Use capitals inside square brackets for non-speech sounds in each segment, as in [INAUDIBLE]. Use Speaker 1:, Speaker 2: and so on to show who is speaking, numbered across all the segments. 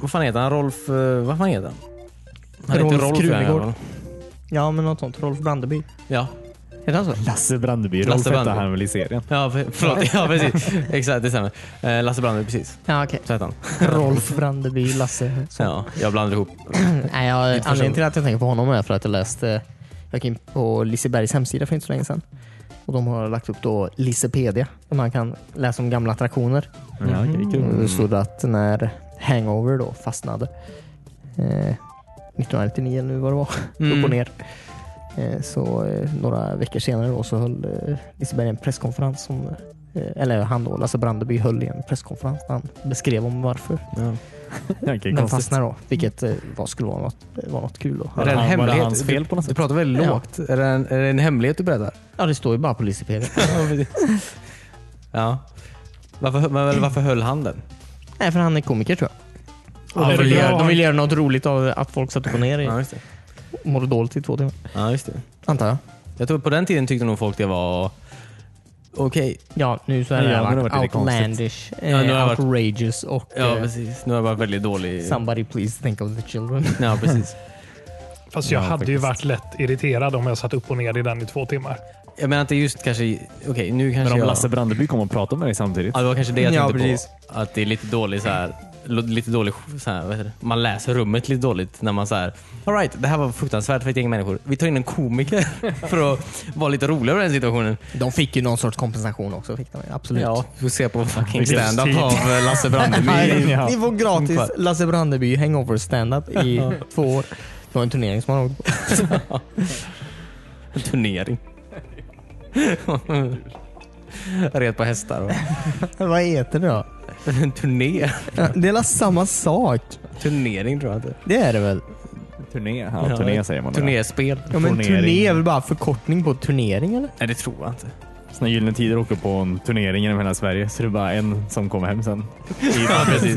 Speaker 1: Vad fan heter han? Rolf... eh, Vad fan heter han? Han
Speaker 2: Rolf
Speaker 1: heter Rolf i den här
Speaker 2: Krunegård.
Speaker 1: jäveln.
Speaker 2: Ja, men något sånt. Rolf Brandeby.
Speaker 1: Ja.
Speaker 2: Heter han så?
Speaker 3: Lasse Brandeby. Rolf
Speaker 1: Lasse
Speaker 3: hette
Speaker 1: Brandeby.
Speaker 3: han väl i serien?
Speaker 1: [LAUGHS] Ja, för, förlåt. Ja, precis. [LAUGHS] Exakt, det stämmer. Eh, Lasse Brandeby, precis.
Speaker 2: Ja, okej.
Speaker 1: Så hette han.
Speaker 2: [LAUGHS] Rolf Brandeby, Lasse. Så.
Speaker 1: Ja, jag blandar ihop.
Speaker 2: [LAUGHS] Nej, jag, anledningen
Speaker 1: personligt.
Speaker 2: till att jag tänker på honom är för att jag läste, jag gick in på Lisebergs hemsida för inte så länge sedan. Och de har lagt upp då Lisepedia, där man kan läsa om gamla attraktioner.
Speaker 3: Ja,
Speaker 2: Mhm.
Speaker 3: okej, kul. Mm.
Speaker 2: Och det stod att när Hangover då fastnade eh, 1999 eller nu vad det var,
Speaker 1: Mm.
Speaker 2: upp och ner. Eh, så eh, några veckor senare då så höll eh, Liseberg en presskonferens som eh, eller han då, Lasse Brandeby höll i en presskonferens där han beskrev om varför
Speaker 1: Ja.
Speaker 3: Okej,
Speaker 2: den
Speaker 3: konstigt.
Speaker 2: fastnade då. Vilket eh, var, skulle vara något, var något kul då.
Speaker 1: Är det en
Speaker 3: Var det
Speaker 1: hemlighet?
Speaker 3: hans fel på något
Speaker 1: Du pratar väldigt
Speaker 2: Ja.
Speaker 1: lågt. Är, det en, är det en hemlighet du [LAUGHS] berättar?
Speaker 2: Ja, det står ju bara på Lisepedia.
Speaker 1: ja. Varför, men varför höll han den?
Speaker 2: Nej, för han är komiker tror jag. de,
Speaker 3: Ja, det är
Speaker 2: vill
Speaker 3: bra.
Speaker 2: göra, de vill göra något roligt av att folk satt upp och ner
Speaker 1: Ja,
Speaker 2: i
Speaker 1: just det.
Speaker 2: mådde dåligt i två timmar.
Speaker 1: Ja, just det.
Speaker 2: Antar jag.
Speaker 1: Jag tror på den tiden tyckte nog folk det var okej.
Speaker 2: Ja, nu så har
Speaker 3: Ja,
Speaker 2: det
Speaker 3: nu har det
Speaker 2: varit
Speaker 3: varit lite
Speaker 2: outlandish, eh,
Speaker 1: Ja, nu har det varit-
Speaker 2: outrageous och
Speaker 1: Ja,
Speaker 2: eh,
Speaker 1: precis. Nu har jag varit väldigt dålig.
Speaker 2: somebody please think of the children.
Speaker 1: Ja, [LAUGHS] precis.
Speaker 4: Fast jag
Speaker 3: Ja,
Speaker 4: hade ju
Speaker 3: faktiskt.
Speaker 4: varit lätt irriterad om jag satt upp och ner i den i två timmar.
Speaker 1: Jag menar inte just kanske... Okej, nu
Speaker 3: Men
Speaker 1: kanske
Speaker 3: om
Speaker 1: jag...
Speaker 3: Lasse Brandeby kom och pratade med dig samtidigt.
Speaker 1: Ja, det var kanske det jag
Speaker 2: Ja,
Speaker 1: tänkte
Speaker 2: precis.
Speaker 1: på. Att det är lite dålig så här, lite dålig så här, vad heter det? Man läser rummet lite dåligt när man så här, all right, det här var fruktansvärt för ett gäng människor. Vi tar in en komiker [LAUGHS] för att vara lite rolig över den situationen.
Speaker 2: De fick ju någon sorts kompensation också. Fick de, absolut.
Speaker 1: Ja, vi får se på fucking
Speaker 3: Vilken
Speaker 1: stand-up
Speaker 3: tid.
Speaker 1: av eh, Lasse
Speaker 2: Nej,
Speaker 1: Brandeby.
Speaker 3: Ja.
Speaker 2: Ni får gratis
Speaker 1: Ungefär.
Speaker 2: Lasse Brandeby hangover standup i två år. Det var en turnering som han åkte på.
Speaker 1: En turnering. [LAUGHS] Red på hästar och [LAUGHS]
Speaker 2: [LAUGHS] Vad heter det då?
Speaker 1: en turné.
Speaker 2: Det är väl samma sak?
Speaker 1: Turnering tror jag inte.
Speaker 2: Det är det väl?
Speaker 3: Turné. Ja, turné säger man. Turné.
Speaker 1: Turnéspel.
Speaker 2: Ja, men
Speaker 3: Turnering.
Speaker 2: turné är väl bara förkortning på turnering eller?
Speaker 1: Nej, det tror jag inte.
Speaker 3: Så när Gyllene Tider åker på en turnering genom hela Sverige så är det bara en som kommer hem sen.
Speaker 1: Ja, precis.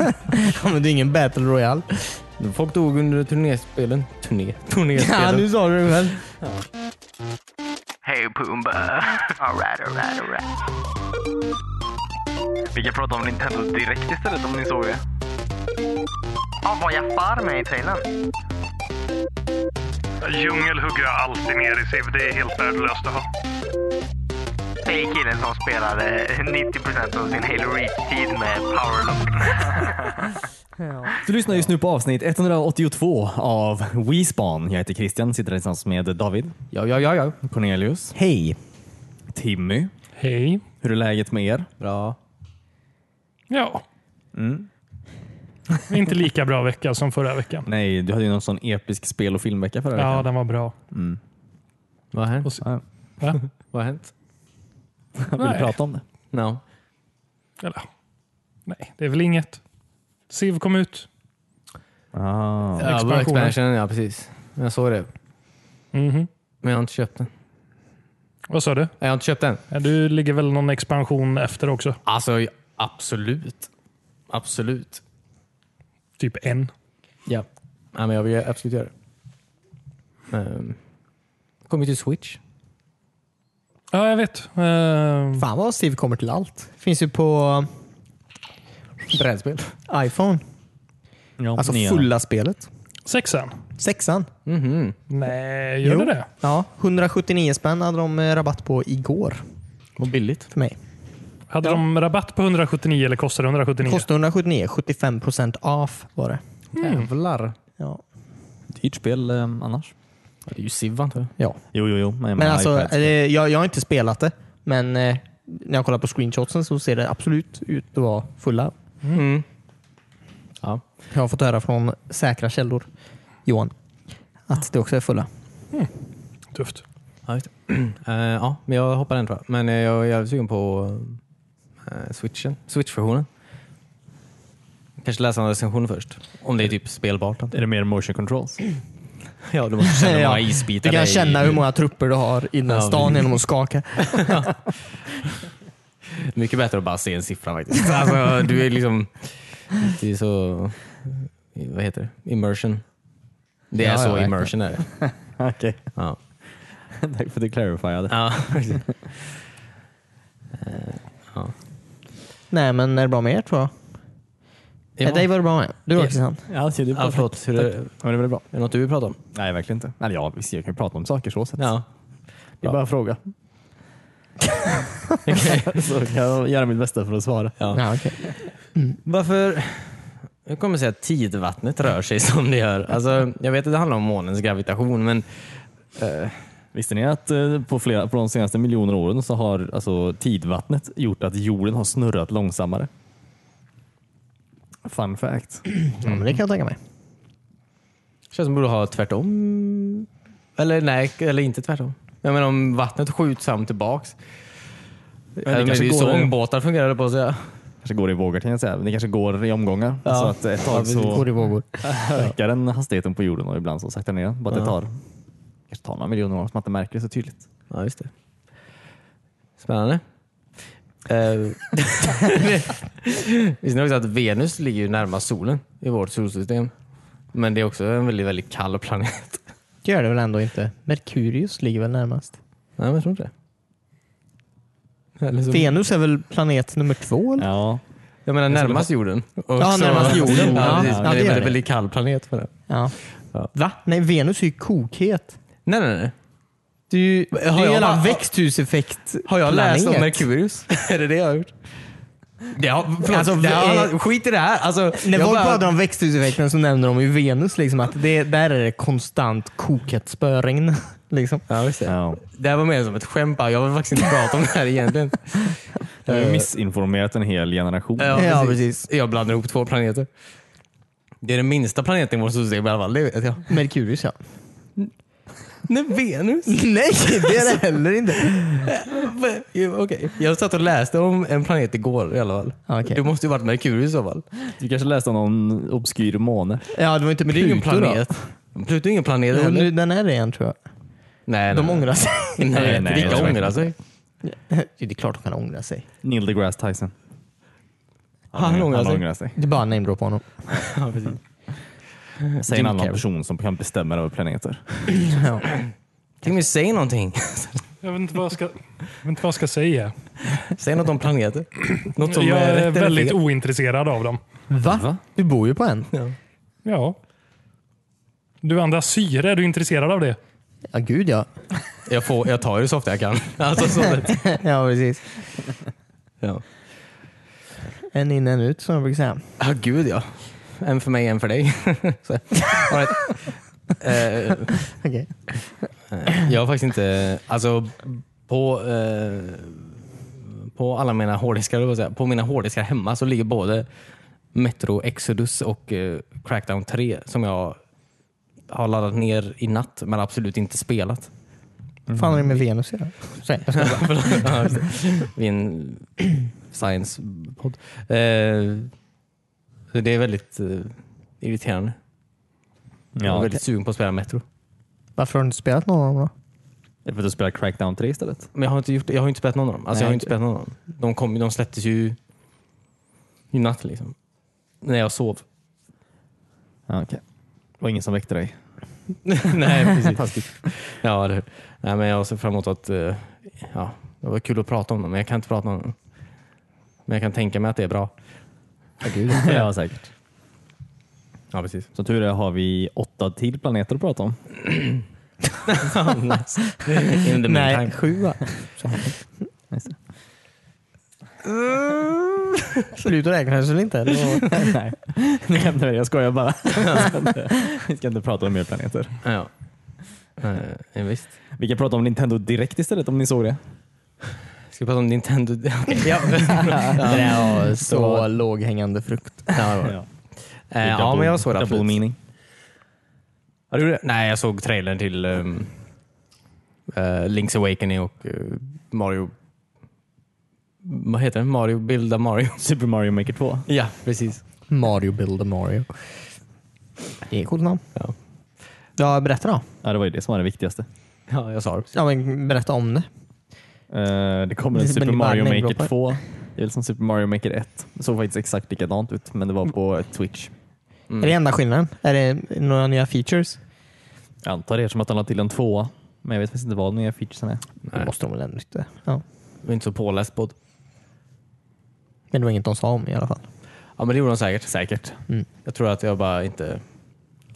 Speaker 2: Ja, men det är ingen battle royale.
Speaker 1: [LAUGHS] Folk dog under turnéspelen. Turné. Turnéspelen.
Speaker 2: [LAUGHS] Ja, nu sa du det väl.
Speaker 5: Hey Pumbaa. Alright, alright, alright. Vi kan prata om Nintendo direkt istället om ni såg det. Ja, var Jafar med i trailern?
Speaker 6: Djungel hugger jag alltid ner i Siv. Det är helt värdelöst att ha.
Speaker 5: Det är killen som spelade 90% av sin Halo Reach-tid med Powerlock.
Speaker 3: Du lyssnar just nu på avsnitt 182 av WeSpan. Jag heter Christian, sitter här tillsammans med David,
Speaker 1: Ja, ja, ja, ja.
Speaker 3: Cornelius,
Speaker 2: Hej.
Speaker 3: Timmy.
Speaker 4: Hej.
Speaker 3: Hur är läget med er?
Speaker 1: Bra.
Speaker 4: Ja.
Speaker 3: Mm.
Speaker 4: Det är [LAUGHS] Inte lika bra vecka som förra veckan.
Speaker 3: Nej, du hade ju någon sån episk spel och filmvecka förra
Speaker 4: Ja,
Speaker 3: veckan.
Speaker 4: den var bra.
Speaker 1: Vad har hänt?
Speaker 3: Ja. [LAUGHS]
Speaker 4: Va?
Speaker 1: Vad har hänt?
Speaker 3: Vill du
Speaker 4: Nej.
Speaker 3: prata om det?
Speaker 1: No.
Speaker 4: Eller, nej, det är väl inget. Siv kom ut.
Speaker 3: Ah.
Speaker 1: Ja,
Speaker 4: Expansionen.
Speaker 1: expansionen, ja precis. Jag såg det.
Speaker 4: Mhm.
Speaker 1: Men jag har inte köpt den. Nej,
Speaker 4: Vad sa du?
Speaker 1: Jag har inte köpt den.
Speaker 4: Ja, Du ligger väl någon expansion efter också?
Speaker 1: Alltså, absolut. Absolut.
Speaker 4: Typ en.
Speaker 1: Ja. Nej, men jag vill absolut göra det. Um, kommer till Switch.
Speaker 4: Ja, jag vet. Ehm,
Speaker 2: Fan vad Steve kommer till allt. Finns ju på
Speaker 1: Brädspel.
Speaker 2: iPhone.
Speaker 3: Ja,
Speaker 2: Alltså
Speaker 3: nya.
Speaker 2: fulla spelet.
Speaker 4: sexan?
Speaker 2: Sexan.
Speaker 1: Mhm.
Speaker 4: Nej, gör
Speaker 2: Jo.
Speaker 4: det det?
Speaker 2: Ja, 179 spänn hade de eh, rabatt på igår
Speaker 1: Vad billigt.
Speaker 2: för mig.
Speaker 4: Hade de rabatt på 179 eller kostade det 179?
Speaker 2: Kostade 179, 75 procent off var det.
Speaker 1: Jävlar.
Speaker 2: Ja.
Speaker 3: Dyrt spel eh, annars.
Speaker 1: Ja, Det är ju Civ antar jag.
Speaker 2: ja.
Speaker 3: Jo, jo, jo. Men,
Speaker 2: Men alltså,
Speaker 3: iPad.
Speaker 2: eh, jag, jag har inte spelat det, men eh, när jag kollar på screenshotsen så ser det absolut ut att vara fulla.
Speaker 1: Ja.
Speaker 2: Jag har fått höra från säkra källor, Johan, att det också är fulla.
Speaker 4: Tufft.
Speaker 1: Ja, just det. [CLEARS THROAT] Eh, ja, men jag hoppar den tror jag. Men eh, jag är jävligt sugen på eh, switchen. Switch-versionen. Kanske läsa en recension först. Om det är typ spelbart. antar
Speaker 3: Är det mer motion
Speaker 1: [LAUGHS]
Speaker 3: controls?
Speaker 1: jag. [LAUGHS] Ja, du måste känna hur
Speaker 2: Ja.
Speaker 1: många isbitar
Speaker 2: Du
Speaker 1: det är
Speaker 2: kan
Speaker 1: i-
Speaker 2: känna
Speaker 1: [LAUGHS]
Speaker 2: hur många trupper du har i den här
Speaker 1: Ja,
Speaker 2: stan
Speaker 1: precis.
Speaker 2: genom att skaka.
Speaker 1: Mycket bättre att bara se en siffra faktiskt. [LAUGHS] Alltså, du är liksom inte så... Vad heter det? Immersion. Det är
Speaker 2: Ja,
Speaker 1: så
Speaker 2: ja, verkligen.
Speaker 1: immersion är det.
Speaker 3: Okej.
Speaker 1: Ja.
Speaker 3: Tack för att du clarifierade.
Speaker 1: [LAUGHS] Ja.
Speaker 2: Nej, men är det bra med er tror jag? Ja. Dig var det bra med. Du då
Speaker 1: Ja.
Speaker 2: Christian?
Speaker 3: Ja, det är
Speaker 1: Ja, förlåt. Hur är, det- är
Speaker 3: men det blev bra.
Speaker 1: det något du vill prata om?
Speaker 3: Nej, verkligen inte. Eller ja, visst, jag kan ju prata om saker så sett.
Speaker 1: Ja.
Speaker 3: Det är bara att [LAUGHS] fråga.
Speaker 1: Okej.
Speaker 3: [LAUGHS] Så kan jag göra mitt bästa för att svara.
Speaker 1: Ja.
Speaker 2: Ja, okej.
Speaker 1: Varför... Jag kommer säga att tidvattnet rör sig som det gör. Alltså, jag vet att det handlar om månens gravitation, men
Speaker 3: Visste ni att eh, på, flera, på de senaste miljoner åren så har alltså, tidvattnet gjort att jorden har snurrat långsammare? Fun fact.
Speaker 2: ja, men det kan jag tänka mig.
Speaker 1: det känns som borde ha tvärtom. Eller nej, eller inte tvärtom. Jag menar om vattnet skjuts fram tillbaks. Men det,
Speaker 3: det kanske
Speaker 1: är ju så
Speaker 3: går-
Speaker 1: ångbåtar fungerar det på att säga.
Speaker 3: kanske går i vågor kan jag säga. Men det kanske går i omgångar.
Speaker 1: Ja.
Speaker 3: Så att ett tag
Speaker 2: Det
Speaker 3: så
Speaker 2: går i vågor.
Speaker 3: ökar den hastigheten på jorden och ibland så saktar ner den. Bara att det
Speaker 1: Ja.
Speaker 3: tar, kanske tar några miljoner år som man inte märker det så tydligt.
Speaker 1: Ja, just det. Spännande. Eh, [LAUGHS] Visste ni också att Venus ligger ju närmast solen i vårt solsystem? Men det är också en väldigt, väldigt kall planet.
Speaker 2: Det gör det väl ändå inte? Merkurius ligger väl närmast?
Speaker 1: Nej, men jag tror inte det. Eller så,
Speaker 2: Venus är väl planet nummer två? Eller?
Speaker 3: Ja.
Speaker 1: jag menar närmast jorden. Och
Speaker 2: Ja,
Speaker 1: så-
Speaker 2: närmast jorden.
Speaker 1: Ja,
Speaker 2: Ja,
Speaker 1: precis.
Speaker 2: ja,
Speaker 1: Men
Speaker 2: det
Speaker 1: det
Speaker 2: gör
Speaker 1: är en
Speaker 2: det.
Speaker 1: väldigt kall planet för det.
Speaker 2: Ja.
Speaker 1: Ja.
Speaker 2: Va? Nej, Venus är ju kokhet.
Speaker 1: Nej, nej, nej.
Speaker 2: Det är ju det är
Speaker 1: jag
Speaker 2: ju hela
Speaker 1: bara-
Speaker 2: [LAUGHS] växthuseffekt
Speaker 1: Har jag läst om
Speaker 2: planet.
Speaker 1: Merkurius? är det det jag har gjort? Det har, förlåt,
Speaker 2: Alltså,
Speaker 1: det
Speaker 2: vi-
Speaker 1: har, skit i det här. Alltså,
Speaker 2: När
Speaker 1: jag
Speaker 2: folk
Speaker 1: bara-
Speaker 2: pratar om växthuseffekten så nämner de ju Venus, liksom, att det, där är det konstant kokat spöregn. [LAUGHS] Liksom.
Speaker 1: ja, visst är det.
Speaker 3: ja.
Speaker 1: Det här var mer som ett skämt bara. Jag vill faktiskt inte prata om det här [LAUGHS] egentligen.
Speaker 3: Jag har ju missinformerat en hel generation.
Speaker 1: Eh. Ja,
Speaker 2: Ja,
Speaker 1: precis. Jag blandar ihop två planeter. Det är den minsta planeten i vårt solsystem i alla fall. Det vet jag.
Speaker 2: Merkurius ja.
Speaker 1: Nej, Venus?
Speaker 2: [LAUGHS] Nej, det är det heller [LAUGHS] inte.
Speaker 1: Okej. Jag satt och läste om en planet igår i alla fall.
Speaker 2: Okej.
Speaker 1: Det måste ju varit Merkurius i så fall.
Speaker 3: Du kanske läste om någon obskyr måne?
Speaker 2: Ja, det var inte
Speaker 1: Men det är ju ingen
Speaker 2: Pluto då.
Speaker 1: planet. Pluto är ingen planet
Speaker 2: Jo,
Speaker 1: heller.
Speaker 2: nu, den är det igen tror jag.
Speaker 1: Nej,
Speaker 2: De
Speaker 1: nej.
Speaker 2: ångrar [LAUGHS] sig.
Speaker 1: Nej,
Speaker 3: Nej,
Speaker 1: nej,
Speaker 3: nej,
Speaker 1: vilka
Speaker 3: jag vet
Speaker 1: ångrar sig?
Speaker 2: det är klart de kan ångra sig.
Speaker 3: Neil deGrasse Tyson.
Speaker 1: Han ångrar sig.
Speaker 3: sig.
Speaker 2: Det är bara namedrop på honom.
Speaker 1: Ja, precis.
Speaker 3: Säg
Speaker 1: Jim
Speaker 3: en annan
Speaker 1: Carrey.
Speaker 3: person som kan bestämma över planeter.
Speaker 2: Ja.
Speaker 1: Tänk om vi säger någonting. [LAUGHS]
Speaker 4: Jag vet inte vad jag ska, jag vet inte vad jag ska säga.
Speaker 1: Säg något om planeter. Något som eh,
Speaker 4: jag
Speaker 1: är rätt
Speaker 4: är
Speaker 1: eller
Speaker 4: väldigt
Speaker 1: fel.
Speaker 4: ointresserad av dem.
Speaker 2: Va? Du bor ju på en.
Speaker 4: Ja. Du andas syre, är du intresserad av det?
Speaker 2: Ja, gud ja.
Speaker 1: jag, får, jag tar ju så ofta jag kan. [LAUGHS] Alltså, så lätt.
Speaker 2: [LAUGHS] ja, precis.
Speaker 1: ja.
Speaker 2: En in, en ut som jag brukar säga.
Speaker 1: Ja, gud ja. En för mig, en för dig. [LAUGHS] Så, all right. Eh,
Speaker 2: Okej.
Speaker 1: eh, jag har faktiskt inte... Alltså, på, eh, på alla mina hårddiskar, höll jag på att säga, på mina hårddiskar hemma så ligger både Metro Exodus och eh, Crackdown 3 som jag har laddat ner i natt men absolut inte spelat.
Speaker 2: Vad
Speaker 1: Mm.
Speaker 2: fan är det med Venus idag? Säg. jag ska bara-
Speaker 1: Ja, just det. [LAUGHS] Vi är en science-podd. Eh, så det är väldigt eh, irriterande. jag är
Speaker 3: Ja,
Speaker 1: väldigt sugen på att spela Metro.
Speaker 2: Varför har du inte spelat någon av dem då?
Speaker 3: det är för att du spelar Crackdown 3 istället.
Speaker 1: Men jag har inte, gjort, jag har inte spelat någon av dem. Alltså,
Speaker 2: Nej,
Speaker 1: jag har inte
Speaker 2: inte-
Speaker 1: spelat någon av dem. De, kom, ju- de släpptes ju i natt liksom. När jag sov.
Speaker 3: Ja, okay. Det var ingen som
Speaker 1: [LAUGHS]
Speaker 3: väckte dig.
Speaker 1: Nej, precis. ja, det, nej, men jag ser fram emot att... eh, ja, det var kul att prata om dem, men jag kan inte prata om dem. Men jag kan tänka mig att det är bra.
Speaker 3: [LAUGHS] ja, säkert.
Speaker 1: [LAUGHS] Ja,
Speaker 3: [LAUGHS]
Speaker 1: precis. [LAUGHS]
Speaker 3: Som tur är har vi åtta till planeter att prata om.
Speaker 1: In the
Speaker 2: Nej,
Speaker 1: meantime.
Speaker 2: sju va? Sluta räkna väl inte? eller vad?
Speaker 3: [LAUGHS] Nej, nej, jag skojar bara. Jag ska inte- [LAUGHS] Vi ska inte prata om mer planeter.
Speaker 1: Ja. Eh, ja, visst.
Speaker 3: Vi kan prata om Nintendo direkt istället om ni såg det.
Speaker 1: Ska vi prata om Nintendo? [LAUGHS] Okej. ja.
Speaker 2: Det där var
Speaker 3: Det
Speaker 2: så
Speaker 3: var-
Speaker 2: låghängande frukt.
Speaker 1: Ja, det var det. Eh, ja, men jag såg det
Speaker 3: Double
Speaker 1: absolut.
Speaker 3: meaning.
Speaker 1: Ja, du gjorde det? Nej, jag såg trailern till ehm, eh, Link's Awakening och eh, Mario... Vad heter den? Mario Builda Mario.
Speaker 3: Super Mario Maker 2.
Speaker 1: Ja, precis.
Speaker 2: Mario Builder Mario. Det är coolt namn.
Speaker 1: Ja.
Speaker 2: Ja, berätta då.
Speaker 3: Ja, det var ju det som var det viktigaste.
Speaker 1: Ja, jag sa det.
Speaker 2: Ja, men berätta om det.
Speaker 3: Eh, det kommer en
Speaker 2: Det är
Speaker 3: Super
Speaker 2: bara
Speaker 3: Mario
Speaker 2: namedroppar.
Speaker 3: Maker 2. Det är väl som Super Mario Maker 1. Det såg faktiskt exakt likadant ut, men det var på Twitch.
Speaker 1: Mm.
Speaker 2: Är det enda skillnaden? Är det några nya features?
Speaker 3: Jag antar det som att han la till en tvåa. Men jag vet faktiskt inte vad de nya featuresen är.
Speaker 2: Det måste de väl ändå inte. Ja.
Speaker 1: Jag är inte så påläst på det.
Speaker 2: Men det var inget de sa om i alla fall.
Speaker 1: Ja, men det gjorde de säkert. Mm.
Speaker 3: Säkert.
Speaker 1: Jag tror att jag bara inte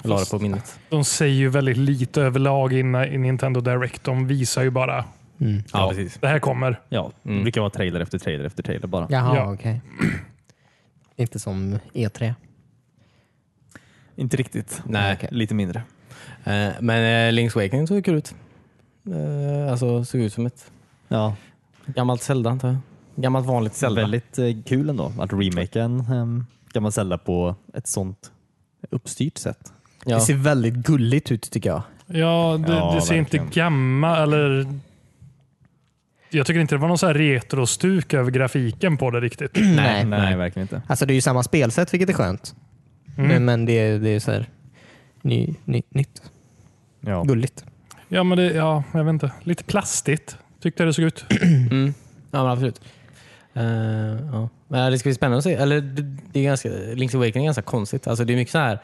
Speaker 1: la det på minnet.
Speaker 4: De säger ju väldigt lite överlag innan- i Nintendo Direct. De visar ju bara.
Speaker 1: Ja, precis.
Speaker 4: Det här kommer.
Speaker 3: Ja, det brukar vara trailer efter trailer efter trailer bara.
Speaker 2: Jaha,
Speaker 4: Ja.
Speaker 2: okej. Inte som E E3.
Speaker 3: Inte riktigt.
Speaker 1: Nej.
Speaker 2: Okej.
Speaker 3: Lite mindre.
Speaker 1: Eh, Men eh, Link's Awakening såg kul ut. Eh, Alltså såg ut som ett
Speaker 3: Ja,
Speaker 1: gammalt Zelda antar jag. Gammalt vanligt Zelda.
Speaker 3: väldigt eh, kul ändå att remake en um, gammal Zelda på ett sånt uppstyrt sätt.
Speaker 1: Ja.
Speaker 2: Det ser väldigt gulligt ut tycker jag.
Speaker 4: Ja, det,
Speaker 3: Ja,
Speaker 4: det ser inte
Speaker 3: verkligen.
Speaker 4: gammal eller... Jag tycker inte det var någon så här retrostuk över grafiken på det riktigt.
Speaker 2: Nej.
Speaker 3: nej, verkligen inte.
Speaker 2: Alltså det är ju samma spelsätt vilket är skönt. Men, men det, är- det är så här ny, ny, nytt.
Speaker 3: Ja.
Speaker 2: Gulligt.
Speaker 4: Ja, men det, ja, jag vet inte. Lite plastigt tyckte jag det såg ut.
Speaker 1: Mm. Ja, men absolut. Eh, ja. Men äh, det ska bli spännande att se. Eller, det, det är ganska, Link's Awakening är ganska konstigt. Alltså, det är mycket så här,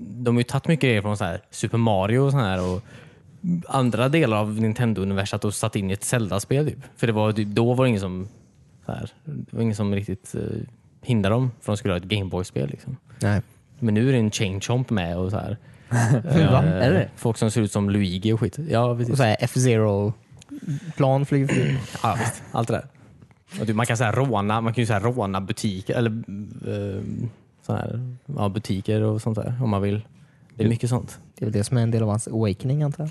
Speaker 1: de har ju tagit mycket grejer från så här Super Mario och så här och andra delar av Nintendo-universat och satt in i ett Zelda-spel. Typ. För det var, typ- då var det ingen som, så här, det var ingen som riktigt eh, hindrade dem för de skulle ha ett Gameboy-spel. Liksom.
Speaker 2: Nej.
Speaker 1: Men nu är det en Chain Chomp med och så här.
Speaker 2: [LAUGHS] Va?
Speaker 1: Eh,
Speaker 2: Är det?
Speaker 1: Folk som ser ut som Luigi och skit. Ja, precis.
Speaker 2: Och så här F-Zero-plan flyger förbi.
Speaker 1: Ja, visst. Allt det där. Och du, man kan så här råna, man kan ju så här råna butiker eller eh, så här, ja, butiker och sånt där om man vill. Det är mycket sånt.
Speaker 2: Det är väl det som är en del av hans awakening antar jag.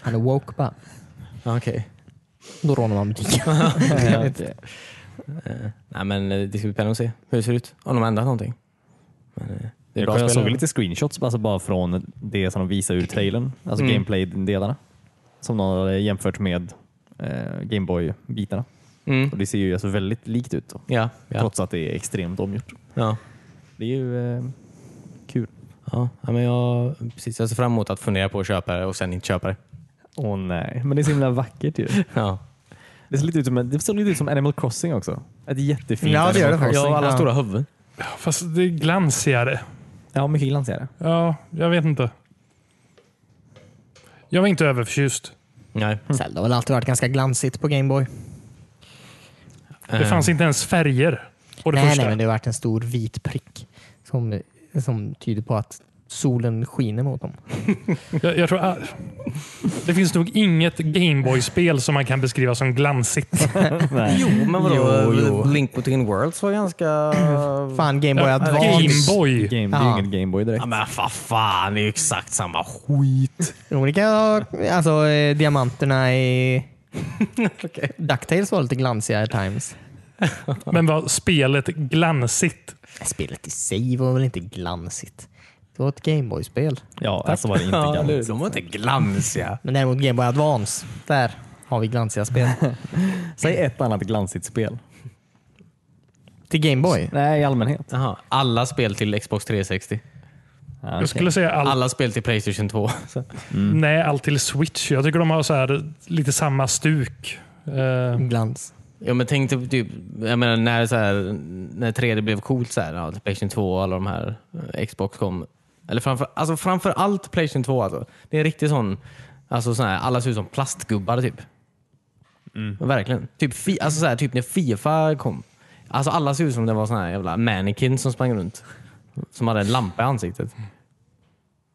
Speaker 2: Han är woke bara.
Speaker 1: Ja, Okej.
Speaker 2: Då rånar man butiken.
Speaker 1: [LAUGHS] Eh, nej men eh, det ska bli spännande att se hur det ser ut. Om de har ändrat någonting. Men, eh, det är
Speaker 3: Jag,
Speaker 1: bra
Speaker 3: kollade- jag
Speaker 1: spel.
Speaker 3: såg lite screenshots alltså bara från det som de visar ur trailern, alltså
Speaker 1: Mm.
Speaker 3: gameplay-delarna som de har jämfört med eh, Gameboy-bitarna.
Speaker 1: Mm.
Speaker 3: Och Det ser ju alltså väldigt likt ut då,
Speaker 1: Ja, ja,
Speaker 3: trots att det är extremt omgjort.
Speaker 1: ja.
Speaker 3: Det är ju eh, kul.
Speaker 1: ja. ja men jag, precis, jag ser fram emot att fundera på att köpa det och sen inte köpa det.
Speaker 3: Åh nej, men det är så himla vackert ju.
Speaker 1: Ja.
Speaker 3: Det ser lite ut som, det ser lite ut som Animal Crossing också. Ett jättefint
Speaker 2: Ja, det gör det
Speaker 3: Animal
Speaker 2: faktiskt.
Speaker 1: Jag
Speaker 3: Crossing.
Speaker 1: har alla stora huvuden.
Speaker 4: Fast det är glansigare.
Speaker 3: Ja, mycket glansigare.
Speaker 4: Ja, jag vet inte. Jag var inte överförtjust.
Speaker 1: Nej.
Speaker 2: Zelda har väl alltid varit ganska glansigt på Gameboy.
Speaker 4: Det
Speaker 1: Eh.
Speaker 4: fanns inte ens färger på det
Speaker 2: Eh. Nej,
Speaker 4: första.
Speaker 2: nej, men det har varit en stor vit prick som, som tyder på att solen skiner mot dem.
Speaker 4: Jag, jag tror, ah, det finns nog inget Gameboy-spel som man kan beskriva
Speaker 2: [LAUGHS]
Speaker 4: som glansigt.
Speaker 1: Jo, men vadå?
Speaker 2: Jo, jo.
Speaker 1: Link Between Worlds var ganska...
Speaker 2: Fan, Gameboy Advance.
Speaker 4: Gameboy!
Speaker 3: Game, det är
Speaker 2: Ja.
Speaker 3: ju ingen Gameboy direkt.
Speaker 1: Ja, men vad fan, det är ju exakt samma skit.
Speaker 2: Jo, men det kan jag- Alltså, eh, diamanterna i...
Speaker 1: [LAUGHS]
Speaker 2: Ducktails var lite glansigare times.
Speaker 4: Men var spelet glansigt?
Speaker 2: Spelet i sig var väl inte glansigt? Det var ett Gameboy-spel.
Speaker 3: Ja, alltså var det inte gammalt.
Speaker 1: de var inte glansiga.
Speaker 2: Men däremot Gameboy Advance, där har vi
Speaker 1: [LAUGHS]
Speaker 2: glansiga spel.
Speaker 3: Säg ett annat glansigt spel.
Speaker 2: Till Gameboy?
Speaker 3: Nej, i allmänhet.
Speaker 1: Jaha, alla spel till Xbox 360.
Speaker 3: Ja,
Speaker 4: Jag skulle säga allt.
Speaker 1: Alla spel till Playstation 2. Så.
Speaker 2: Mm.
Speaker 4: Nej, allt till Switch. Jag tycker de har så här, lite samma stuk. Eh,
Speaker 2: Glans.
Speaker 1: Ja, men tänk typ, typ, jag menar när, så här, när 3D blev coolt, så här, ja, Playstation 2 och alla de här eh, Xbox kom. Eller framför, alltså framför allt Playstation 2. Alltså. Det är en riktig sån, alltså sån här, alla ser ut som plastgubbar typ. Verkligen. Typ, fi, alltså, så här, typ när Fifa kom. Alltså alla ser ut som det var sån här jävla mannequin som sprang runt. Som hade en lampa i ansiktet.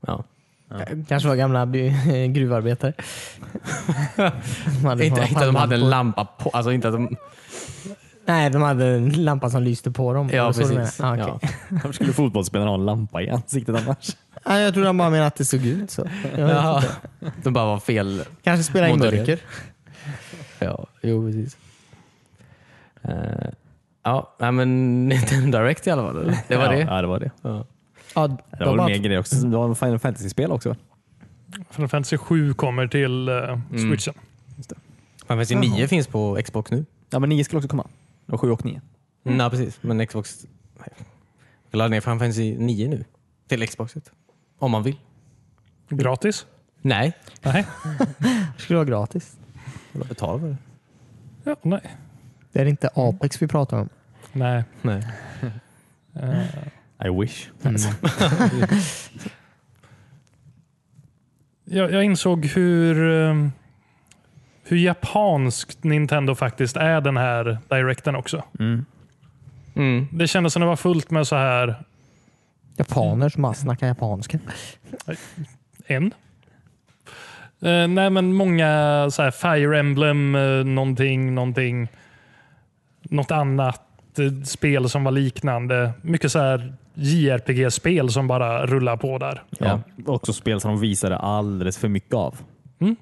Speaker 1: Ja.
Speaker 2: Eh, Kanske var gamla by- eh,
Speaker 1: [LAUGHS]
Speaker 2: gruvarbetare. De hade
Speaker 1: Inte,
Speaker 2: några
Speaker 1: inte att de hade en
Speaker 2: pannlampor.
Speaker 1: lampa på. Alltså inte att de...
Speaker 2: Nej, de hade en lampa som lyste på dem. Var
Speaker 1: Ja,
Speaker 2: det så du
Speaker 1: precis.
Speaker 2: menade? Ah,
Speaker 1: ja.
Speaker 2: okej.
Speaker 3: Varför skulle fotbollsspelaren ha en lampa i ansiktet annars?
Speaker 2: Nej, jag tror de bara menade att det såg ut så. Jag
Speaker 1: [LAUGHS]
Speaker 2: vet
Speaker 1: Ja.
Speaker 2: inte.
Speaker 1: De bara var fel.
Speaker 2: Kanske spela in
Speaker 1: Modellerat.
Speaker 2: mörker.
Speaker 1: Ja, jo precis. Eh, ja, nej, men Nintendo Direct i alla fall. eller? Det var
Speaker 3: ja,
Speaker 1: det.
Speaker 3: Ja, det var det.
Speaker 1: Ja.
Speaker 2: Ja,
Speaker 3: Det
Speaker 2: de
Speaker 3: var väl
Speaker 2: bara-
Speaker 3: mer grejer också. Det var en Final Fantasy-spel också.
Speaker 4: Final Fantasy 7 kommer till eh,
Speaker 2: Mm.
Speaker 4: Switchen.
Speaker 1: Final Fantasy 9 finns på Xbox nu.
Speaker 3: Ja, men 9 skulle också komma. Och 7 och 9.
Speaker 1: Mm. Nej, precis. Men Xbox... Nej. Jag laddar ner Final Fantasy 9 nu. Till Xboxet. Om man vill.
Speaker 4: Gratis?
Speaker 1: Nej.
Speaker 4: Nej.
Speaker 2: Det skulle vara gratis.
Speaker 1: Jag betalar för det.
Speaker 4: Ja, nej.
Speaker 2: Det är inte
Speaker 1: Mm.
Speaker 2: Apex vi pratar om.
Speaker 4: nej.
Speaker 1: Nej.
Speaker 4: Eh,
Speaker 3: I wish.
Speaker 4: jag, jag insåg hur, eh, hur japanskt Nintendo faktiskt är den här directen också.
Speaker 1: Mm.
Speaker 4: Det kändes som det var fullt med så här
Speaker 2: Japaner
Speaker 1: Mm.
Speaker 2: som bara snackar japanska.
Speaker 4: En. Eh, nej, men många så här Fire Emblem, uh, någonting, någonting. Något annat eh, spel som var liknande. Mycket så här JRPG-spel som bara rullar på där.
Speaker 3: Ja. Också spel som de visade alldeles för mycket av.
Speaker 4: Mm.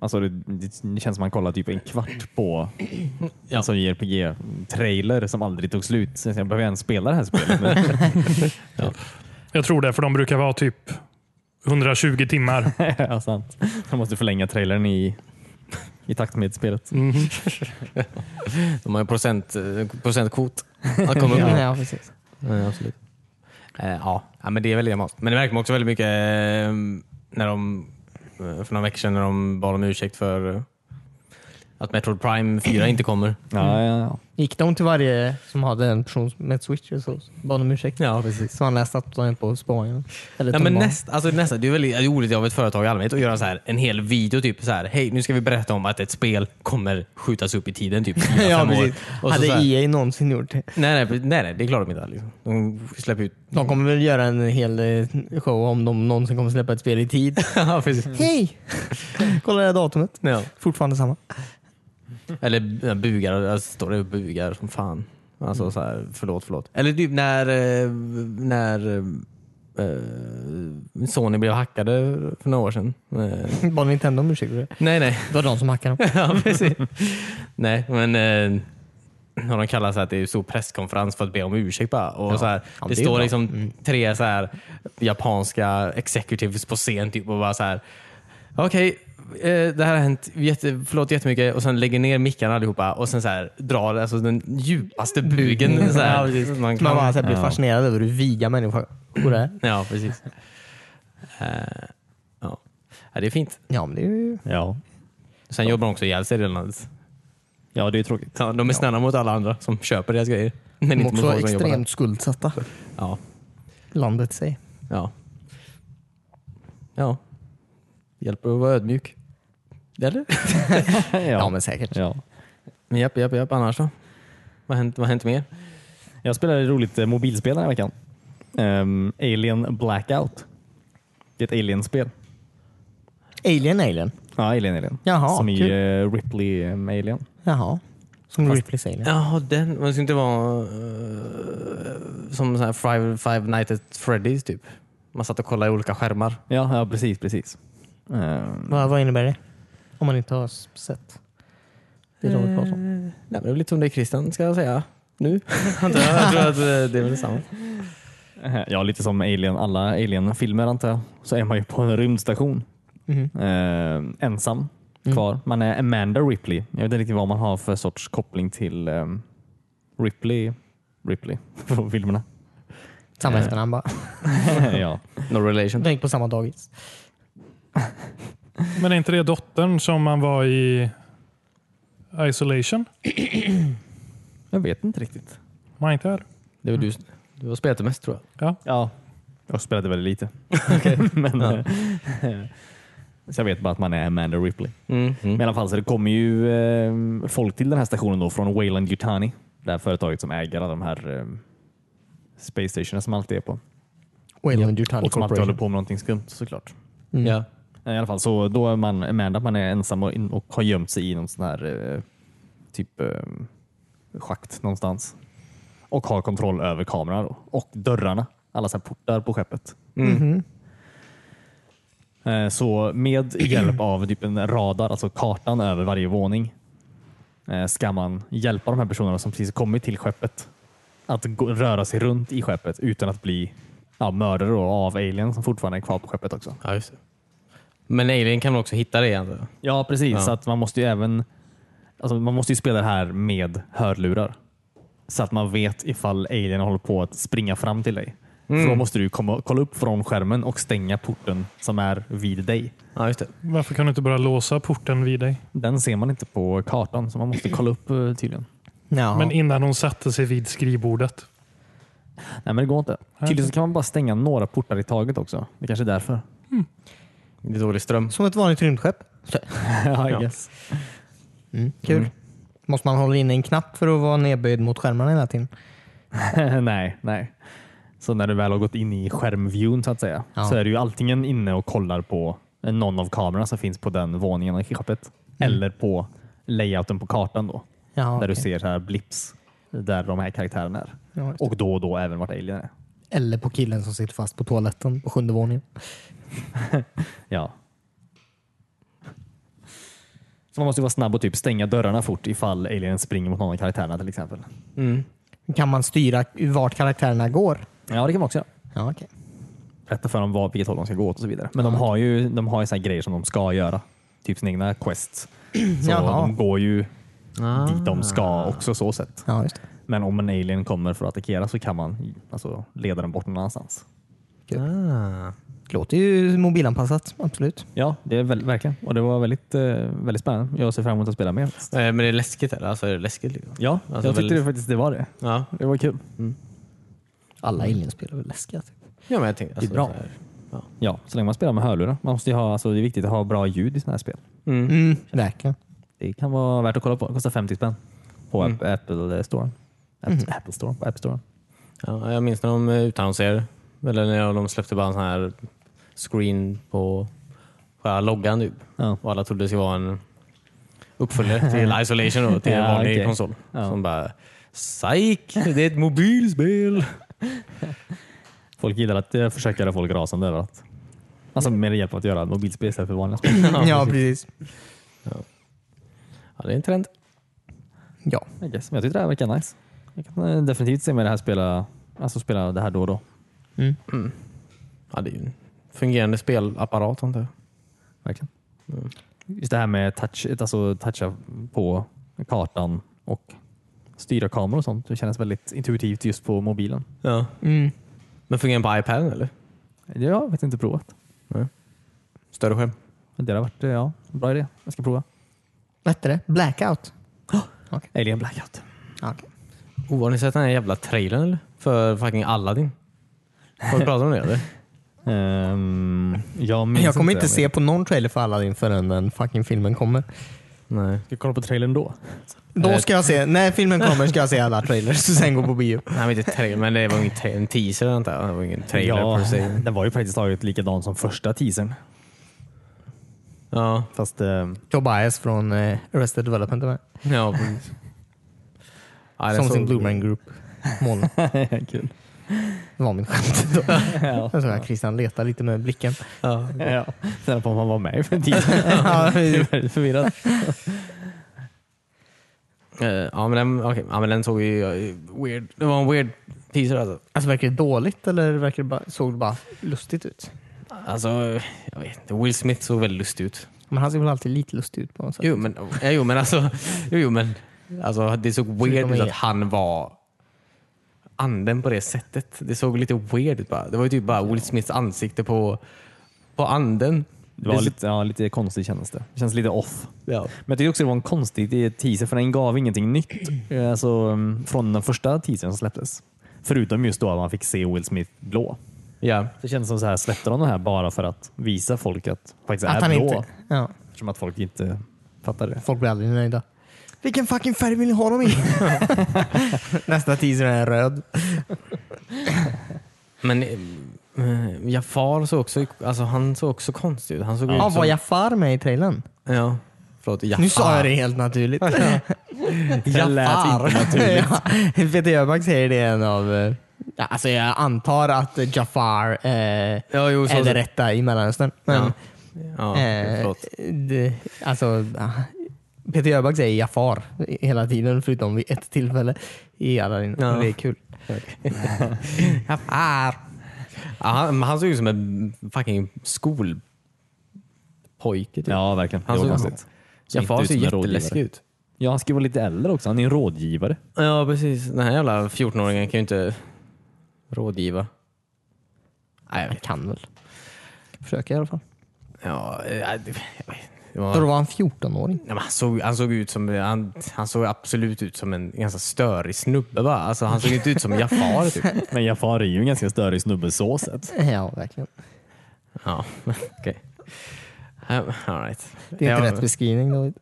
Speaker 3: Alltså det, det känns som man kollar typ en kvart på
Speaker 1: Ja.
Speaker 3: en sån JRPG-trailer som aldrig tog slut. Så jag behöver ens spela det här spelet. Men, [LAUGHS]
Speaker 4: Jag tror det, för de brukar vara typ 120 timmar.
Speaker 3: ja, sant. Jag måste förlänga trailern i, i takt med spelet.
Speaker 1: De har ju procent, eh, [LAUGHS] procentkvot att komma upp i.
Speaker 2: Ja, ja, precis.
Speaker 1: Nej, absolut. Eh, ja. ja, men det är väl det man måste. Men det märker man också väldigt mycket eh, när de, eh, för några veckor sedan när de bad om ursäkt för eh, att Metroid Prime 4 inte kommer.
Speaker 3: Ja, ja, ja.
Speaker 2: Gick de till varje som hade en person med ett switch och så bad de ursäkt?
Speaker 1: Ja, precis.
Speaker 2: Så han läste att de är på Spanien.
Speaker 1: Nej,
Speaker 2: Eller
Speaker 1: men
Speaker 2: tunnelbanan.
Speaker 1: näst, alltså nästa, det är väldigt roligt av ett företag i allmänhet att göra så här, en hel video. typ så här, Hej, nu ska vi berätta om att ett spel kommer skjutas upp i tiden. Typ
Speaker 2: [LAUGHS]
Speaker 1: fyra,
Speaker 2: ja,
Speaker 1: fem år.
Speaker 2: precis.
Speaker 1: Och så
Speaker 2: Hade
Speaker 1: så här,
Speaker 2: EA någonsin gjort det?
Speaker 1: nej, nej, nej, nej, det är klart de inte har, liksom. De släpper ut... [LAUGHS]
Speaker 2: De kommer väl göra en hel eh, show om de någonsin kommer släppa ett spel i
Speaker 1: [LAUGHS]
Speaker 2: tid.
Speaker 1: Ja, precis.
Speaker 2: Hej! Kolla det här datumet.
Speaker 1: Ja.
Speaker 2: Fortfarande samma.
Speaker 1: Eller eh, bugar, alltså, står det bugar som fan. Alltså så här, förlåt, förlåt. Eller typ när, eh, när eh, Sony blev hackade för några år sedan. Eh,
Speaker 2: Bara Nintendo om ursäkt för det.
Speaker 1: nej, nej.
Speaker 2: Det var de som hackade dem.
Speaker 1: [LAUGHS] ja, precis. nej, men eh, har de kallat så här, att det är stor presskonferens för att be om ursäkt bara. Och så här,
Speaker 2: Ja,
Speaker 1: det,
Speaker 2: det är
Speaker 1: står
Speaker 2: bra. Mm.
Speaker 1: liksom tre så här, japanska executives på scen typ, och bara så här. Okej, eh, det här har hänt. Jätte, förlåt jättemycket. Och sen lägger ner mickarna allihopa och sen så här, drar alltså, den djupaste
Speaker 2: Mm.
Speaker 1: bugen. Så här, man,
Speaker 2: [LAUGHS] Man
Speaker 1: kan,
Speaker 2: bara så här blir fascinerad över hur viga människor är.
Speaker 1: ja, precis. Eh, ja. ja, det är fint.
Speaker 2: Ja, men det är ju...
Speaker 3: Ja.
Speaker 1: Sen jobbar de också ihjäl sig redan.
Speaker 3: ja, det är tråkigt.
Speaker 1: Ja, de är snälla mot alla andra som köper deras grejer. Men
Speaker 2: De
Speaker 1: inte mot
Speaker 2: också
Speaker 1: folk som jobbar där.
Speaker 2: extremt skuldsatta.
Speaker 1: Ja.
Speaker 2: Landet i sig.
Speaker 1: Ja. Ja. Hjälper att vara ödmjuk. Eller?
Speaker 3: Ja,
Speaker 2: Ja, men säkert.
Speaker 3: ja.
Speaker 1: Men japp, japp, japp. Annars då? Vad har hänt, vad har hänt mer?
Speaker 3: Jag spelade ett roligt eh, mobilspel den här veckan. Ehm, Alien Blackout. Det är ett Alien-spel.
Speaker 2: Alien Alien.
Speaker 3: Ja, Alien Alien.
Speaker 2: Jaha,
Speaker 3: Som i
Speaker 2: kul.
Speaker 3: eh, Ripley eh, Alien.
Speaker 2: Jaha. Mm. Som Ripley's Alien.
Speaker 1: Jaha, den. Men det skulle inte vara eh, som så här Five, Five Nights at Freddy's typ. Man satt och kollade i olika skärmar.
Speaker 3: Ja, ja precis, precis. Ehm,
Speaker 2: Vad, vad innebär det? Om man inte har s- sett. Det är de vi pratar om.
Speaker 1: Nej, men det är väl lite som det Christian ska jag säga
Speaker 2: [LAUGHS]
Speaker 1: nu. Antar jag. jag tror att eh, det är väl detsamma.
Speaker 3: ja, lite som Alien, alla Alien-filmer antar jag. Så är man ju på en rymdstation.
Speaker 2: Mhm.
Speaker 3: Ehm, ensam kvar. Man är Amanda Ripley. Jag vet inte riktigt vad man har för sorts koppling till ehm, Ripley. Ripley [LAUGHS] från filmerna.
Speaker 2: Samma
Speaker 3: Eh.
Speaker 2: efternamn bara.
Speaker 3: ja.
Speaker 1: No relation.
Speaker 2: De gick på samma dagis.
Speaker 4: Men är inte det dottern som man var i Isolation?
Speaker 3: Jag vet inte riktigt.
Speaker 4: Var inte här?
Speaker 1: Det är väl du, du har spelat det mest tror jag.
Speaker 3: Ja, jag spelade väldigt lite. [LAUGHS] Men, eh, [LAUGHS] så jag vet bara att man är Amanda Ripley.
Speaker 2: Mm.
Speaker 1: Mm.
Speaker 3: Men i alla fall, så det kommer ju eh, folk till den här stationen då från Wayland Yutani. Det här företaget som äger alla de här eh, space stationerna som alltid är på.
Speaker 2: Wayland Yutani
Speaker 3: Och som alltid håller
Speaker 2: Corporation.
Speaker 3: på med någonting skumt såklart.
Speaker 2: Mm.
Speaker 1: Ja.
Speaker 3: Eh, I alla fall, så då är man Amanda, man är ensam och, in, och har gömt sig i någon sån här eh, typ eh, schakt någonstans. Och har kontroll över kameran då. och dörrarna. Alla så här portar på skeppet. Eh, Så med hjälp av typ en radar, alltså kartan över varje våning, eh, ska man hjälpa de här personerna som precis kommit till skeppet att gå, röra sig runt i skeppet utan att bli ja, mördare då, av alien som fortfarande är kvar på skeppet också.
Speaker 1: Ja, just det. Men Alien kan man också hitta det antar jag?
Speaker 3: Ja, precis.
Speaker 1: Ja.
Speaker 3: Så att man måste ju även alltså man måste ju spela det här med hörlurar. Så att man vet ifall alien håller på att springa fram till dig. För då måste du komma, kolla upp från skärmen och stänga porten som är vid dig.
Speaker 1: Ja, just det.
Speaker 4: Varför kan du inte bara låsa porten vid dig?
Speaker 3: Den ser man inte på kartan så man måste kolla upp eh, tydligen.
Speaker 2: Ja.
Speaker 4: Men innan hon satte sig vid skrivbordet.
Speaker 3: Nej, men det går inte. Tydligen så kan man bara stänga några portar i taget också. Det kanske är därför.
Speaker 1: Det är dålig ström.
Speaker 2: Som ett vanligt rymdskepp. Mm. Så.
Speaker 3: [LAUGHS] ja, I guess.
Speaker 2: Kul. Måste man hålla in en knapp för att vara nedböjd mot skärmarna hela tiden?
Speaker 3: [LAUGHS] nej, nej. Så när du väl har gått in i skärmviewn så att säga
Speaker 2: Ja.
Speaker 3: så är du ju antingen inne och kollar på någon av kamerorna som finns på den våningen av skeppet eller på layouten på kartan då.
Speaker 2: Jaha,
Speaker 3: där
Speaker 2: Mm.
Speaker 3: du
Speaker 2: Ah, okej.
Speaker 3: ser så här blips där de här karaktärerna är.
Speaker 2: Ja, just det.
Speaker 3: Och då och då även vart alien är.
Speaker 2: Eller på killen som sitter fast på toaletten på sjunde våningen.
Speaker 3: Ja. Så man måste ju vara snabb och typ stänga dörrarna fort ifall alien springer mot någon av karaktärerna till exempel.
Speaker 2: Kan man styra vart karaktärerna går?
Speaker 3: Ja, det kan man också göra.
Speaker 2: Ja, okej.
Speaker 3: berätta för dem vad, vilket håll de ska gå åt och så vidare. Men de har ju, de har ju så här grejer som de ska göra. Typ sina egna quests. Så
Speaker 2: Jaha.
Speaker 3: de går ju
Speaker 1: Ah.
Speaker 3: dit de ska också så sett.
Speaker 2: Ja, just det.
Speaker 3: Men om en alien kommer för att attackera så kan man alltså, leda den bort någon annanstans.
Speaker 1: Ah.
Speaker 2: Låter ju mobilanpassat, absolut.
Speaker 3: Ja, det är väl, verkligen. Och det var väldigt, eh, väldigt spännande. Jag ser fram emot att spela mer.
Speaker 1: Eh, Men det är läskigt eller? Alltså är det läskigt? Liksom?
Speaker 3: Ja, jag
Speaker 1: Alltså,
Speaker 3: tyckte
Speaker 1: väldigt-
Speaker 3: det faktiskt det var det.
Speaker 1: Ja.
Speaker 3: Det var kul.
Speaker 2: Alla alienspel är väl läskiga? Typ.
Speaker 1: ja, men jag tänkte... Alltså,
Speaker 3: Det är bra.
Speaker 1: så här-
Speaker 3: Ja, så länge man spelar med hörlurar. Man måste ju ha, alltså, det är viktigt att ha bra ljud i sådana här spel.
Speaker 2: Mm, verkligen.
Speaker 3: Det kan vara värt att kolla på. Det kostar 50 spänn på App- Apple Store. App, Apple Store? På App Store.
Speaker 1: Ja, jag minns när de eh, utannonserade, eller när de släppte bara en sån här screen på själva loggan typ.
Speaker 3: Ja.
Speaker 1: Och alla trodde det skulle vara en uppföljare till Isolation då, till en
Speaker 3: Ja,
Speaker 1: vanlig
Speaker 3: okej.
Speaker 1: konsol.
Speaker 3: Ja.
Speaker 1: Som bara Psyk! Det är ett mobilspel!
Speaker 3: Folk gillar att eh, försöka göra folk rasande över att Alltså med hjälp av att göra mobilspel istället för vanliga spel.
Speaker 2: [LAUGHS] ja, precis.
Speaker 1: Ja, det är en trend.
Speaker 2: Ja.
Speaker 3: I guess. Men jag tyckte det här verkar nice. Jag kan eh, definitivt se mig det här spela, alltså spela det här då och då.
Speaker 1: Ja, det är ju en fungerande spelapparat antar jag.
Speaker 3: Verkligen.
Speaker 2: Mm.
Speaker 3: Just det här med touch, alltså toucha på kartan och styra kameror och sånt. Det känns väldigt intuitivt just på mobilen.
Speaker 1: Ja.
Speaker 2: Mm.
Speaker 1: Men fungerar den på iPaden eller?
Speaker 3: Det har jag faktiskt inte provat.
Speaker 1: Större skärm?
Speaker 3: Men det har varit eh, ja, bra idé. Jag ska prova.
Speaker 2: Vad hette det? Blackout?
Speaker 3: Alien Blackout.
Speaker 2: Ja, okej.
Speaker 1: Oh, har ni sett den här jävla trailern eller? För fucking Aladdin? Har vi pratat om det eller?
Speaker 3: Ehm, jag, minns
Speaker 2: Jag kommer inte
Speaker 3: men-
Speaker 2: se på någon trailer för Aladdin förrän den fucking filmen kommer.
Speaker 1: [LAUGHS] Nej.
Speaker 3: Ska jag kolla på trailern då?
Speaker 2: Då ska jag se, när filmen kommer ska jag se alla trailers och sen gå på bio.
Speaker 1: Nej, men inte trailer, men det var ingen tra- en teaser antar jag. Det var ingen trailer per se.
Speaker 3: [LAUGHS] den var ju praktiskt taget likadan som första teasern.
Speaker 1: Ja,
Speaker 3: Fast eh,
Speaker 2: [LAUGHS] Tobias från eh, Arrested Development är med.
Speaker 1: ja precis. Ja, den
Speaker 2: Som
Speaker 1: såg-
Speaker 2: sin Blue Man Group. Mål.
Speaker 3: kul.
Speaker 2: Det var min skämt. Då.
Speaker 3: [LAUGHS] Ja.
Speaker 2: Jag såg att Christian letar lite med blicken.
Speaker 1: Ja.
Speaker 3: ja. Sen på om han var med i för teasern.
Speaker 2: Ja,
Speaker 3: [LAUGHS] Det är väldigt förvirrat.
Speaker 1: Eh, ja, men den, okej. ja, men den såg ju eh, weird. Det var en weird teaser alltså.
Speaker 2: Alltså verkar det dåligt eller verkar det bara, såg det bara lustigt ut?
Speaker 1: Alltså, eh, jag vet inte. Will Smith såg väldigt lustig ut.
Speaker 2: Men han ser väl alltid lite lustig ut på något sätt?
Speaker 1: Jo, men, ja, jo, men alltså. Jo, jo, men, alltså det såg weird
Speaker 2: Förutom
Speaker 1: ut
Speaker 2: i-
Speaker 1: att han var anden på det sättet. Det såg lite weird ut bara. Det var ju typ bara Will Smiths ansikte på, på anden.
Speaker 3: Det var lite, ja, lite konstigt kändes det. Det känns lite off.
Speaker 1: Ja.
Speaker 3: Men jag tycker också det var en konstig teaser för den gav ingenting nytt eh, alltså, mm, från den första teasern som släpptes. Förutom just då att man fick se Will Smith blå.
Speaker 1: ja.
Speaker 3: Det kändes som så här släppte de det här bara för att visa folk att han faktiskt
Speaker 2: att
Speaker 3: är
Speaker 2: han
Speaker 3: blå.
Speaker 2: inte... Ja,
Speaker 3: Eftersom att folk inte fattar det.
Speaker 2: folk blir aldrig nöjda. Vilken fucking färg vill ni ha dem i? Nästa teaser är röd.
Speaker 1: Men eh, Jafar såg också, alltså han såg också konstig ut. Han såg
Speaker 2: Ja,
Speaker 1: ut Mm, som,
Speaker 2: var Jafar med i trailern?
Speaker 1: Ja. Förlåt, Jafar.
Speaker 2: Nu sa jag det helt naturligt.
Speaker 3: Det lät inte naturligt.
Speaker 2: [LAUGHS] ja, Peter Jöback säger det i en av... eh, ja, Alltså jag antar att Jafar eh,
Speaker 1: Ja, jo, så,
Speaker 2: är det rätta i Mellanöstern. Men,
Speaker 1: Ja,
Speaker 2: eh,
Speaker 1: förlåt.
Speaker 2: det, alltså, ah, Peter Jöback säger Jafar hela tiden förutom vid ett tillfälle i Aladdin.
Speaker 1: Ja.
Speaker 2: Det är kul. Jafar!
Speaker 1: Ja, han, men han såg ut som en fucking skolpojke. Typ.
Speaker 3: Ja, verkligen.
Speaker 1: han
Speaker 3: det var
Speaker 1: såg
Speaker 3: konstigt. Som
Speaker 1: Jafar
Speaker 3: inte
Speaker 1: ser
Speaker 3: ut som en
Speaker 1: jätteläskig
Speaker 3: rådgivare.
Speaker 1: ut.
Speaker 3: Ja, han ska ju vara lite äldre också. Han är en rådgivare.
Speaker 1: Ja, precis. Den här jävla 14-åringen kan ju inte rådgiva.
Speaker 2: Nej, jag kan väl. Försöker i alla fall.
Speaker 1: Ja, eh, jag vet inte. det var,
Speaker 2: Då var han 14-åring.
Speaker 1: nej, men han, såg, han såg ut som han, han såg absolut ut som en ganska störig snubbe. Va? Alltså, han såg inte ut som Jafar. Typ.
Speaker 3: Men Jafar är ju en ganska störig snubbe så sett.
Speaker 2: Ja, verkligen.
Speaker 1: [LAUGHS] Ja, okej. Um, all right.
Speaker 2: Det är inte
Speaker 1: Ja,
Speaker 2: rätt beskrivning David.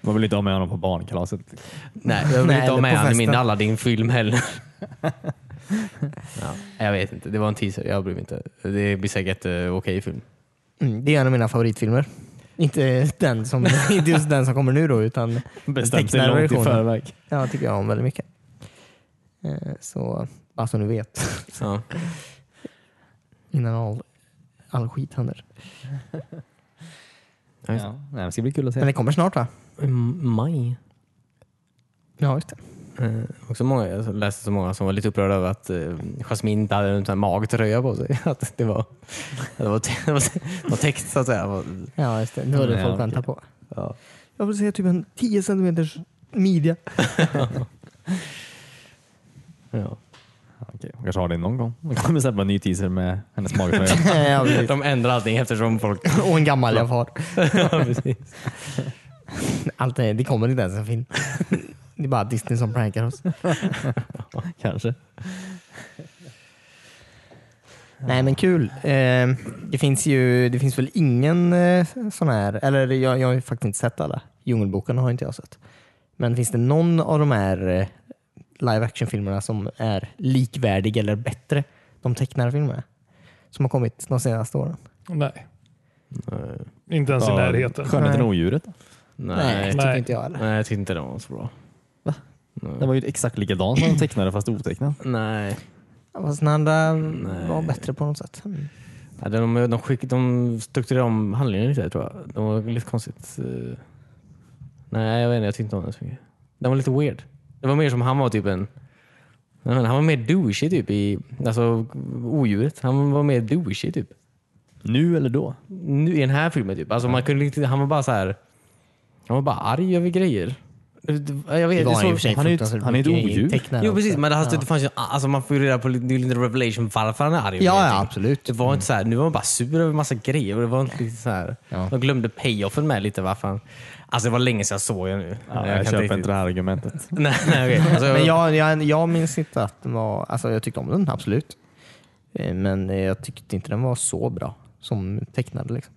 Speaker 3: Man vill inte ha med honom på barnkalaset.
Speaker 1: Nej, jag vill
Speaker 2: Nej,
Speaker 1: inte ha
Speaker 2: eller
Speaker 1: med
Speaker 2: på
Speaker 1: han i min
Speaker 2: festen.
Speaker 1: Aladdin-film [LAUGHS] heller. ja, jag vet inte, det var en teaser. Jag bryr mig inte. Det blir säkert eh, okej film.
Speaker 2: Mm, det är en av mina favoritfilmer. Inte, den [LAUGHS] som, inte just den som kommer nu då, utan
Speaker 3: Bestämt sig
Speaker 2: Tecknade
Speaker 3: långt i
Speaker 2: versionen.
Speaker 3: förväg.
Speaker 2: ja, tycker jag om väldigt mycket. Eh, Så, bara så ni vet,
Speaker 1: Ja.
Speaker 2: innan all, all skit händer.
Speaker 1: Ja, just
Speaker 3: Ja. Nej, det ska bli kul att se.
Speaker 2: Men det kommer snart va?
Speaker 1: det. Mm, Maj.
Speaker 2: Ja, just det.
Speaker 1: Eh, också många, jag läste så många som var lite upprörda över att eh, Jasmine inte hade en sån här magtröja på sig. [LAUGHS] Att det var, det var, te- det var, te- det var text så att säga. Det var-
Speaker 2: Ja, just det. Nu är det
Speaker 3: Ja,
Speaker 2: folk
Speaker 3: okej.
Speaker 2: väntar på.
Speaker 1: Ja.
Speaker 2: Jag vill säga typ en 10 centimeters midja.
Speaker 1: Ja.
Speaker 3: Okej, hon kanske har det någon gång. Hon kommer släppa en ny teaser med hennes [LAUGHS] magtröja.
Speaker 2: [LAUGHS] Ja, precis.
Speaker 1: De ändrar allting eftersom folk...
Speaker 2: [LAUGHS] Och en gammal jag har.
Speaker 1: [LAUGHS] ja, precis.
Speaker 2: [LAUGHS] Allt det, det kommer inte ens en film. [LAUGHS] Det är bara Disney som
Speaker 1: [LAUGHS]
Speaker 2: prankar oss.
Speaker 3: kanske.
Speaker 2: Nej men kul. Eh, det finns ju det finns väl ingen eh, sån här, eller jag, jag har ju faktiskt inte sett alla. Djungelboken har inte jag sett. Men finns det någon av de här eh, live action-filmerna som är likvärdig eller bättre? De tecknade filmerna som har kommit de senaste åren?
Speaker 4: Nej,
Speaker 1: Nej.
Speaker 4: inte ens i
Speaker 3: Ja,
Speaker 4: närheten.
Speaker 3: Skönheten och odjuret.
Speaker 2: Nej,
Speaker 1: Nej.
Speaker 2: tycker
Speaker 4: Nej.
Speaker 2: inte jag heller.
Speaker 1: Nej, jag tyckte inte den var så bra.
Speaker 3: Va?
Speaker 1: Nej.
Speaker 3: Den var ju exakt likadan som de tecknade fast otecknad.
Speaker 1: Nej.
Speaker 2: Fast den andra var
Speaker 1: Nej.
Speaker 2: bättre på något sätt. Mm.
Speaker 1: Ja, de, de, skick, de strukturerade om handlingen lite tror jag. Det var lite konstigt. eh. Nej, jag vet inte. Jag tyckte inte om den så mycket. Den var lite weird. Det var mer som han var typ en... Jag menar, han var mer douchey typ i... Alltså odjuret. Han var mer douchey typ.
Speaker 3: Nu eller då?
Speaker 1: Nu, I den här filmen typ. Alltså, man kunde inte, han var bara så här... Han var bara arg över grejer. Jag vet,
Speaker 2: Det var
Speaker 1: så-
Speaker 2: i och för sig
Speaker 3: han är ju-
Speaker 2: fruktansvärt
Speaker 3: han är ett
Speaker 2: mycket i
Speaker 3: odjur.
Speaker 2: tecknade
Speaker 1: Jo precis,
Speaker 2: också.
Speaker 1: men det, alltså, det fanns ju, alltså, man får ju reda på lite, det är ju lite revelation varför han är arg.
Speaker 2: Ja,
Speaker 1: över typ.
Speaker 2: ja,
Speaker 1: någonting.
Speaker 2: absolut.
Speaker 1: Det var inte så här, nu var han bara sur över massa grejer. Och det var inte lite så här,
Speaker 2: Ja.
Speaker 1: De glömde payoffen med lite varför han... Alltså det var länge sedan jag såg den nu.
Speaker 3: Ja, jag
Speaker 1: kan
Speaker 3: köper inte
Speaker 1: riktigt-
Speaker 3: det här argumentet.
Speaker 1: [LAUGHS] Nej, nej, okej. alltså,
Speaker 2: Men jag, jag, jag minns inte att den var... Alltså jag tyckte om den, absolut. Eh, Men eh, jag tyckte inte den var så bra som tecknade. Liksom.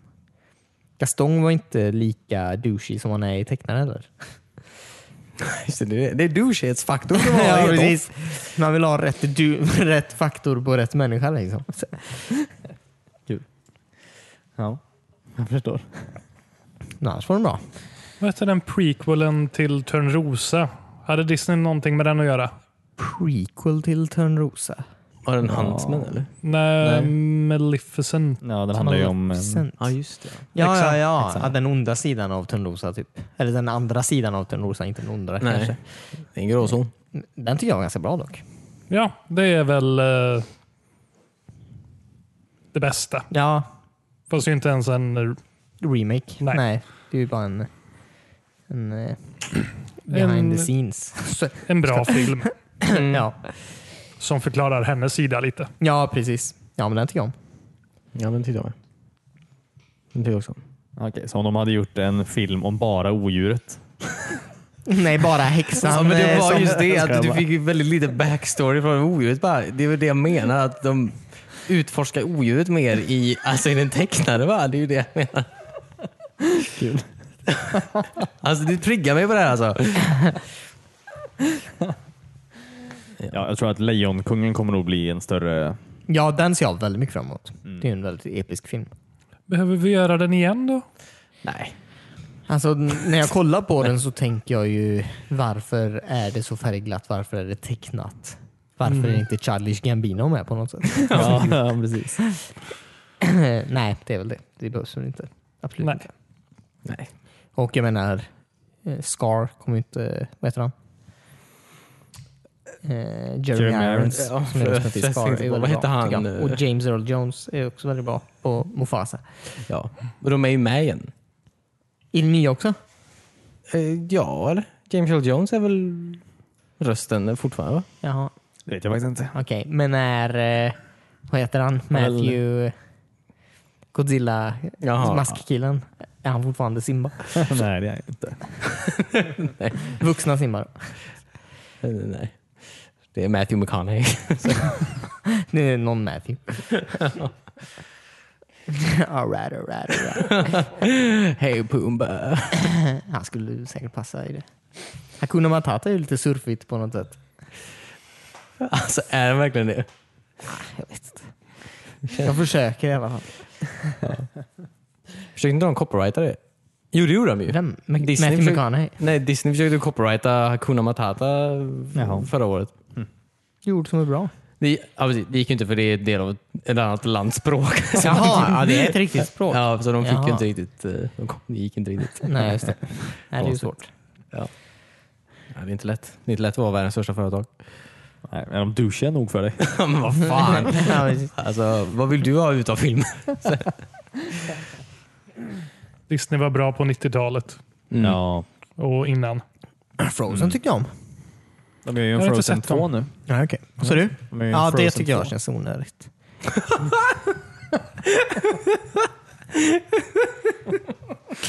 Speaker 2: Gaston var inte lika douchey som han är i tecknaren heller.
Speaker 1: [LAUGHS] just det, det, är- det är douchehetsfaktorn som var
Speaker 2: [LAUGHS] Ja,
Speaker 1: helt off.
Speaker 2: precis. Man vill ha rätt, du, [LAUGHS] rätt faktor på rätt människa. Liksom.
Speaker 3: Ja, [LAUGHS] jag förstår.
Speaker 2: Men annars var den bra.
Speaker 4: Vad hette den prequelen till Törnrosa? Hade Disney någonting med den att göra?
Speaker 2: Prequel till Törnrosa.
Speaker 1: Var det en huntsman eller?
Speaker 4: Nej,
Speaker 1: Nej.
Speaker 4: Maleficent.
Speaker 3: Ja, den handlar ju om... eh,
Speaker 2: Maleficent.
Speaker 1: Ja just det.
Speaker 2: Ja,
Speaker 4: Exakt,
Speaker 1: Liksom.
Speaker 2: ja, ja. ja. Den onda sidan av Törnrosa typ. Eller den andra sidan av Törnrosa, inte den onda
Speaker 1: Nej,
Speaker 2: kanske.
Speaker 1: det är en gråzon.
Speaker 2: Den tycker jag var ganska bra dock.
Speaker 4: Ja, det är väl eh, det bästa.
Speaker 2: Ja,
Speaker 4: Fast det är ju inte ens en... eh,
Speaker 2: remake.
Speaker 4: Nej.
Speaker 2: Nej. det är ju bara en, en
Speaker 1: [CLEARS THROAT]
Speaker 2: eh, behind
Speaker 4: En-
Speaker 2: the scenes. Så,
Speaker 4: En bra film
Speaker 1: Mm.
Speaker 2: ja.
Speaker 4: som förklarar hennes sida lite.
Speaker 2: ja, precis. Ja, men den tycker jag om. [LAUGHS]
Speaker 1: Ja men tittar jag med. Den tycker jag också.
Speaker 3: Okej, så om de hade gjort en film om bara odjuret.
Speaker 2: Nej, bara häxan.
Speaker 1: Ja, men det
Speaker 2: eh,
Speaker 1: var
Speaker 2: som-
Speaker 1: just det,
Speaker 2: [LAUGHS]
Speaker 1: att du
Speaker 3: Skärmar.
Speaker 1: fick ju väldigt lite backstory från odjuret. Bara. Det var det jag menar, att de utforskar odjuret mer i, alltså i den tecknade. Va? Det är ju det jag menar.
Speaker 3: Kul.
Speaker 1: [LAUGHS] Alltså du triggar mig på det här alltså.
Speaker 3: Ja, jag tror att Lejonkungen kommer nog bli en större...
Speaker 2: Ja, den ser jag väldigt mycket fram emot.
Speaker 1: Mm.
Speaker 2: Det är ju en väldigt episk film.
Speaker 4: Behöver vi göra den igen då?
Speaker 1: Nej.
Speaker 2: Alltså, n- när jag
Speaker 1: [LAUGHS]
Speaker 2: kollar på den så tänker jag ju varför är det så färgglatt? Varför är det tecknat? Varför
Speaker 1: Mm.
Speaker 2: är inte Charlies Gambino med på något sätt?
Speaker 3: [LAUGHS] Ja, precis.
Speaker 2: [CLEARS THROAT] Nej, det är väl det. Det behövs väl inte. Absolut
Speaker 4: Nej.
Speaker 2: inte.
Speaker 1: Nej.
Speaker 2: Och jag menar, eh, Scar kommer ju inte... Vad heter han? Eh, Jeremy
Speaker 3: Jeremy
Speaker 2: Irons.
Speaker 1: Irons.
Speaker 2: som är
Speaker 1: Ja,
Speaker 2: rösten till
Speaker 1: jag
Speaker 2: Scar.
Speaker 1: tänkte
Speaker 2: Är
Speaker 1: på, vad
Speaker 2: väldigt
Speaker 1: heter
Speaker 2: bra,
Speaker 1: han? eh?
Speaker 2: tycker jag. Och James Earl Jones är också väldigt bra på Mufasa.
Speaker 1: Ja. Och de är ju med igen.
Speaker 2: Är det nya också?
Speaker 1: Eh, ja, eller? James Earl Jones är väl rösten fortfarande? Va?
Speaker 2: Jaha,
Speaker 3: Det vet jag faktiskt inte.
Speaker 2: okej. Men är... Eh, vad heter han? Matthew... Godzilla,
Speaker 1: Jaha.
Speaker 2: maskkillen. Är han fortfarande Simba?
Speaker 3: [LAUGHS] Nej, det är jag inte.
Speaker 2: Vuxna Simba då.
Speaker 1: Eh, Nej. Det är [LAUGHS] Matthew McConaughey.
Speaker 2: Det är någon Matthew. [LAUGHS] all right, all right, all right.
Speaker 1: Hej Pumba.
Speaker 2: [LAUGHS] Han skulle säkert passa i det. Hakuna Matata är ju lite surfigt på något sätt.
Speaker 1: Alltså är det verkligen det?
Speaker 2: Jag vet inte. Jag försöker i alla fall.
Speaker 1: Försökte inte de copyrighta det? Jo det gjorde de ju.
Speaker 2: Vem? Mac-
Speaker 1: Disney
Speaker 2: Matthew
Speaker 1: försökte-
Speaker 2: McConaughey?
Speaker 1: Nej, Disney försökte copyrighta Hakuna Matata
Speaker 3: Jaha.
Speaker 1: förra året.
Speaker 2: Gjord som är bra.
Speaker 1: Det, ja, precis. det gick ju inte för det är en del av ett- ett annat lands språk. [LAUGHS] Så-
Speaker 2: ja, det är ett riktigt språk.
Speaker 1: Ja, så de fick
Speaker 2: Jaha.
Speaker 1: ju inte riktigt... eh, De kom, det gick inte riktigt.
Speaker 2: Nej, just det. Nej, det är ju
Speaker 1: Konstigt.
Speaker 2: svårt.
Speaker 1: Ja, det är inte lätt. Det är inte lätt att vara världens största företag.
Speaker 3: Nej, men de douchar nog för dig.
Speaker 1: Ja, men [LAUGHS] vad fan.
Speaker 2: [LAUGHS] Ja, precis.
Speaker 1: Alltså, vad vill du ha ut av filmen?
Speaker 4: Disney var bra på 90-talet
Speaker 1: Mm.
Speaker 3: Ja.
Speaker 4: och innan.
Speaker 2: Frozen tyckte jag om.
Speaker 3: De gör ju
Speaker 4: Jag
Speaker 3: en
Speaker 4: har inte
Speaker 3: Frozen
Speaker 4: sett dem.
Speaker 3: 2 nu.
Speaker 2: Ja, okej. Vad sa du?
Speaker 3: De gör ju en
Speaker 2: Ja, det
Speaker 3: Frozen
Speaker 2: tycker jag
Speaker 3: 2.
Speaker 2: känns onödigt.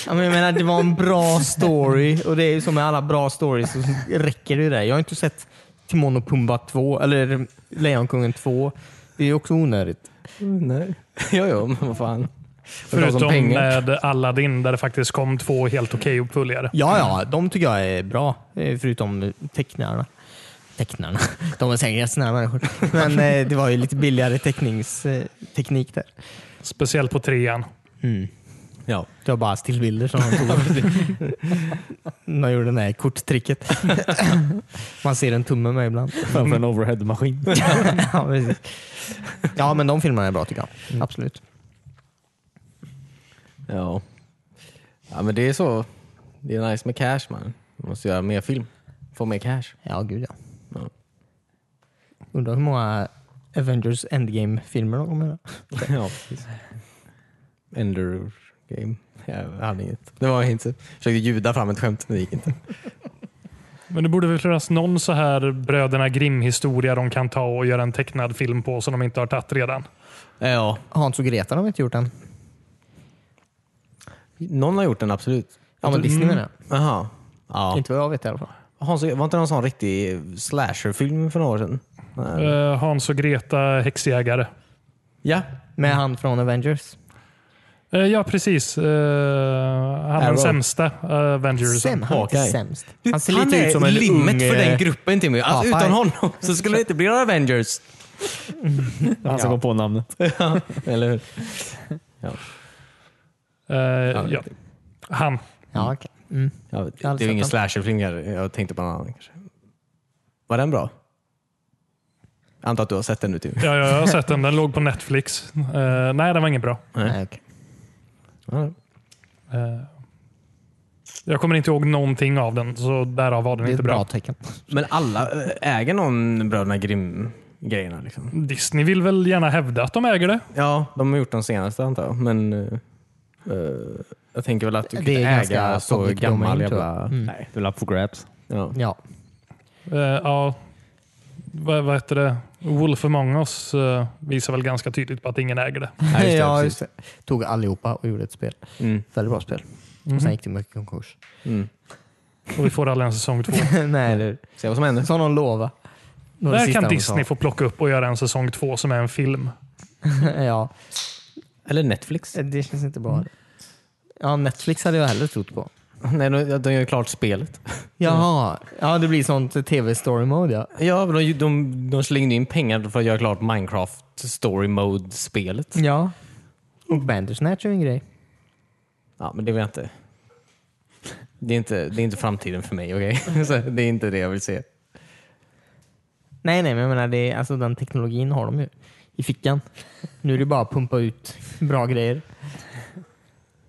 Speaker 2: ja, men jag menar, det var en bra story och det är ju som med alla bra stories så räcker det där. Jag har inte sett Timon och Pumba 2 eller Lejonkungen 2. Det är ju också onödigt.
Speaker 1: [LAUGHS] Nej. Jo, jo, men vad fan.
Speaker 4: Förutom eh, med Aladdin där det faktiskt kom två helt okej uppföljare.
Speaker 2: Ja, ja, de tycker jag är bra. eh, Förutom tecknarna. Tecknarna. De är säkert snälla människor. Men eh, det var ju lite billigare tecknings, eh, teknik där. Mm.
Speaker 4: Speciellt på trean.
Speaker 1: Ja.
Speaker 2: Det var bara stillbilder som [LAUGHS] de tog. de gjorde det här korttricket. [LAUGHS] Man ser en tumme med ibland.
Speaker 3: Framför
Speaker 2: Mm.
Speaker 3: en
Speaker 2: [LAUGHS]
Speaker 3: overhead-maskin. [LAUGHS]
Speaker 2: ja, precis. Mm. ja, men de filmerna är bra tycker jag. Absolut.
Speaker 1: ja. Ja, men det är så. Det är nice med cash man. Man måste göra mer film. Få mer cash.
Speaker 2: Ja, gud ja.
Speaker 1: Ja.
Speaker 2: Undrar hur många Avengers Endgame-filmer de kommer göra.
Speaker 1: [LAUGHS] Ja, precis. Ender game. Jag hade inget. Det var inte. Försökte ljuda fram ett skämt, men det gick inte.
Speaker 4: Men det borde väl finnas någon så här Bröderna Grimm-historia de kan ta och göra en tecknad film på som de inte har tagit redan.
Speaker 1: Ja.
Speaker 2: Hans och Greta har de inte gjort än.
Speaker 1: Någon har gjort den, absolut.
Speaker 2: Ja, men Disney menar jag.
Speaker 1: Jaha. Ja.
Speaker 2: Inte vad jag vet i alla fall.
Speaker 1: Hans, var inte det någon sån riktig slasherfilm för några år sedan? Nej.
Speaker 4: Eh, Hans och Greta, häxjägare.
Speaker 1: Ja.
Speaker 2: Med han från Avengers.
Speaker 4: Eh, ja, precis. Eh, han är
Speaker 1: Arrow.
Speaker 4: den sämsta uh, Avengers.
Speaker 2: Sem, han är inte
Speaker 1: Hawkeye.
Speaker 2: sämst.
Speaker 1: Du,
Speaker 2: Han ser lite ut som en
Speaker 1: limmet
Speaker 2: ung,
Speaker 1: för den
Speaker 2: eh,
Speaker 1: gruppen Timmy. Alltså,
Speaker 2: Popeye.
Speaker 1: utan honom så skulle det inte bli några Avengers.
Speaker 3: Han som kom på namnet.
Speaker 1: Eller hur?
Speaker 4: Eh, ja. Han.
Speaker 2: Ja, okej. Mm.
Speaker 1: Ja, det
Speaker 2: har
Speaker 1: det är
Speaker 2: aldrig
Speaker 1: ju ingen
Speaker 2: sett
Speaker 1: slasherfilm kanske. Jag tänkte på någon annan kanske. Var den bra? Jag antar att du har sett den nu Timmy?
Speaker 4: Ja, ja, jag har sett den. Den låg på Netflix. Eh, nej, den var ingen bra.
Speaker 1: Nej.
Speaker 2: Nej, okej.
Speaker 1: Ja.
Speaker 4: Eh, jag kommer inte ihåg någonting av den, så därav var den
Speaker 2: Det är
Speaker 4: inte
Speaker 2: ett
Speaker 4: bra.
Speaker 2: bra tecken.
Speaker 1: Men alla eh, äger någon Bröderna Grimm-grejerna? Liksom.
Speaker 4: Disney vill väl gärna hävda att de äger det.
Speaker 1: Ja, de har gjort de senaste antar jag. Men eh, eh, jag tänker väl att du
Speaker 2: Det
Speaker 1: kan
Speaker 2: är
Speaker 1: inte äga
Speaker 2: ganska
Speaker 1: så
Speaker 2: public
Speaker 1: gammal
Speaker 2: domain, tror jag.
Speaker 1: jävla...
Speaker 3: Nej, det är på grabs.
Speaker 1: Mm. [LAUGHS] Ja.
Speaker 2: Ja.
Speaker 4: Eh, ja, vad, vad heter det? Wolf Among Us eh, visar väl ganska tydligt på att ingen äger det.
Speaker 1: Ja, just det,
Speaker 2: ja,
Speaker 1: precis.
Speaker 2: just det. Tog allihopa och gjorde ett spel.
Speaker 1: Mm.
Speaker 2: Väldigt bra spel. Och
Speaker 4: Mhm.
Speaker 2: sen gick det mycket konkurs.
Speaker 1: Mm.
Speaker 4: Och vi får aldrig en
Speaker 2: [LAUGHS]
Speaker 4: säsong två.
Speaker 2: Nej, eller hur?
Speaker 1: Se vad som händer.
Speaker 2: Som de lovade. Det var det
Speaker 4: Där
Speaker 2: sista
Speaker 4: kan
Speaker 2: de
Speaker 4: Disney få plocka upp och göra en säsong två som är en film.
Speaker 2: sa. [LAUGHS] ja,
Speaker 1: Eller Netflix.
Speaker 2: det känns inte bra. Ja, Netflix hade jag hellre trott på.
Speaker 1: Nej, de, de gör ju klart spelet.
Speaker 2: Jaha, ja, det blir sånt tv-story mode ja.
Speaker 1: Ja, men de, de, de slängde in pengar för att göra klart Minecraft Story Mode-spelet.
Speaker 2: Ja. Och Bandersnatch är ju en grej.
Speaker 1: Ja, men det vill jag inte. Det är inte, det är inte framtiden för mig, okej? [LAUGHS] Så Det är inte det jag vill se.
Speaker 2: Nej, nej, men jag menar, det är, alltså, den teknologin har de ju i fickan. Nu är det bara att pumpa ut bra grejer.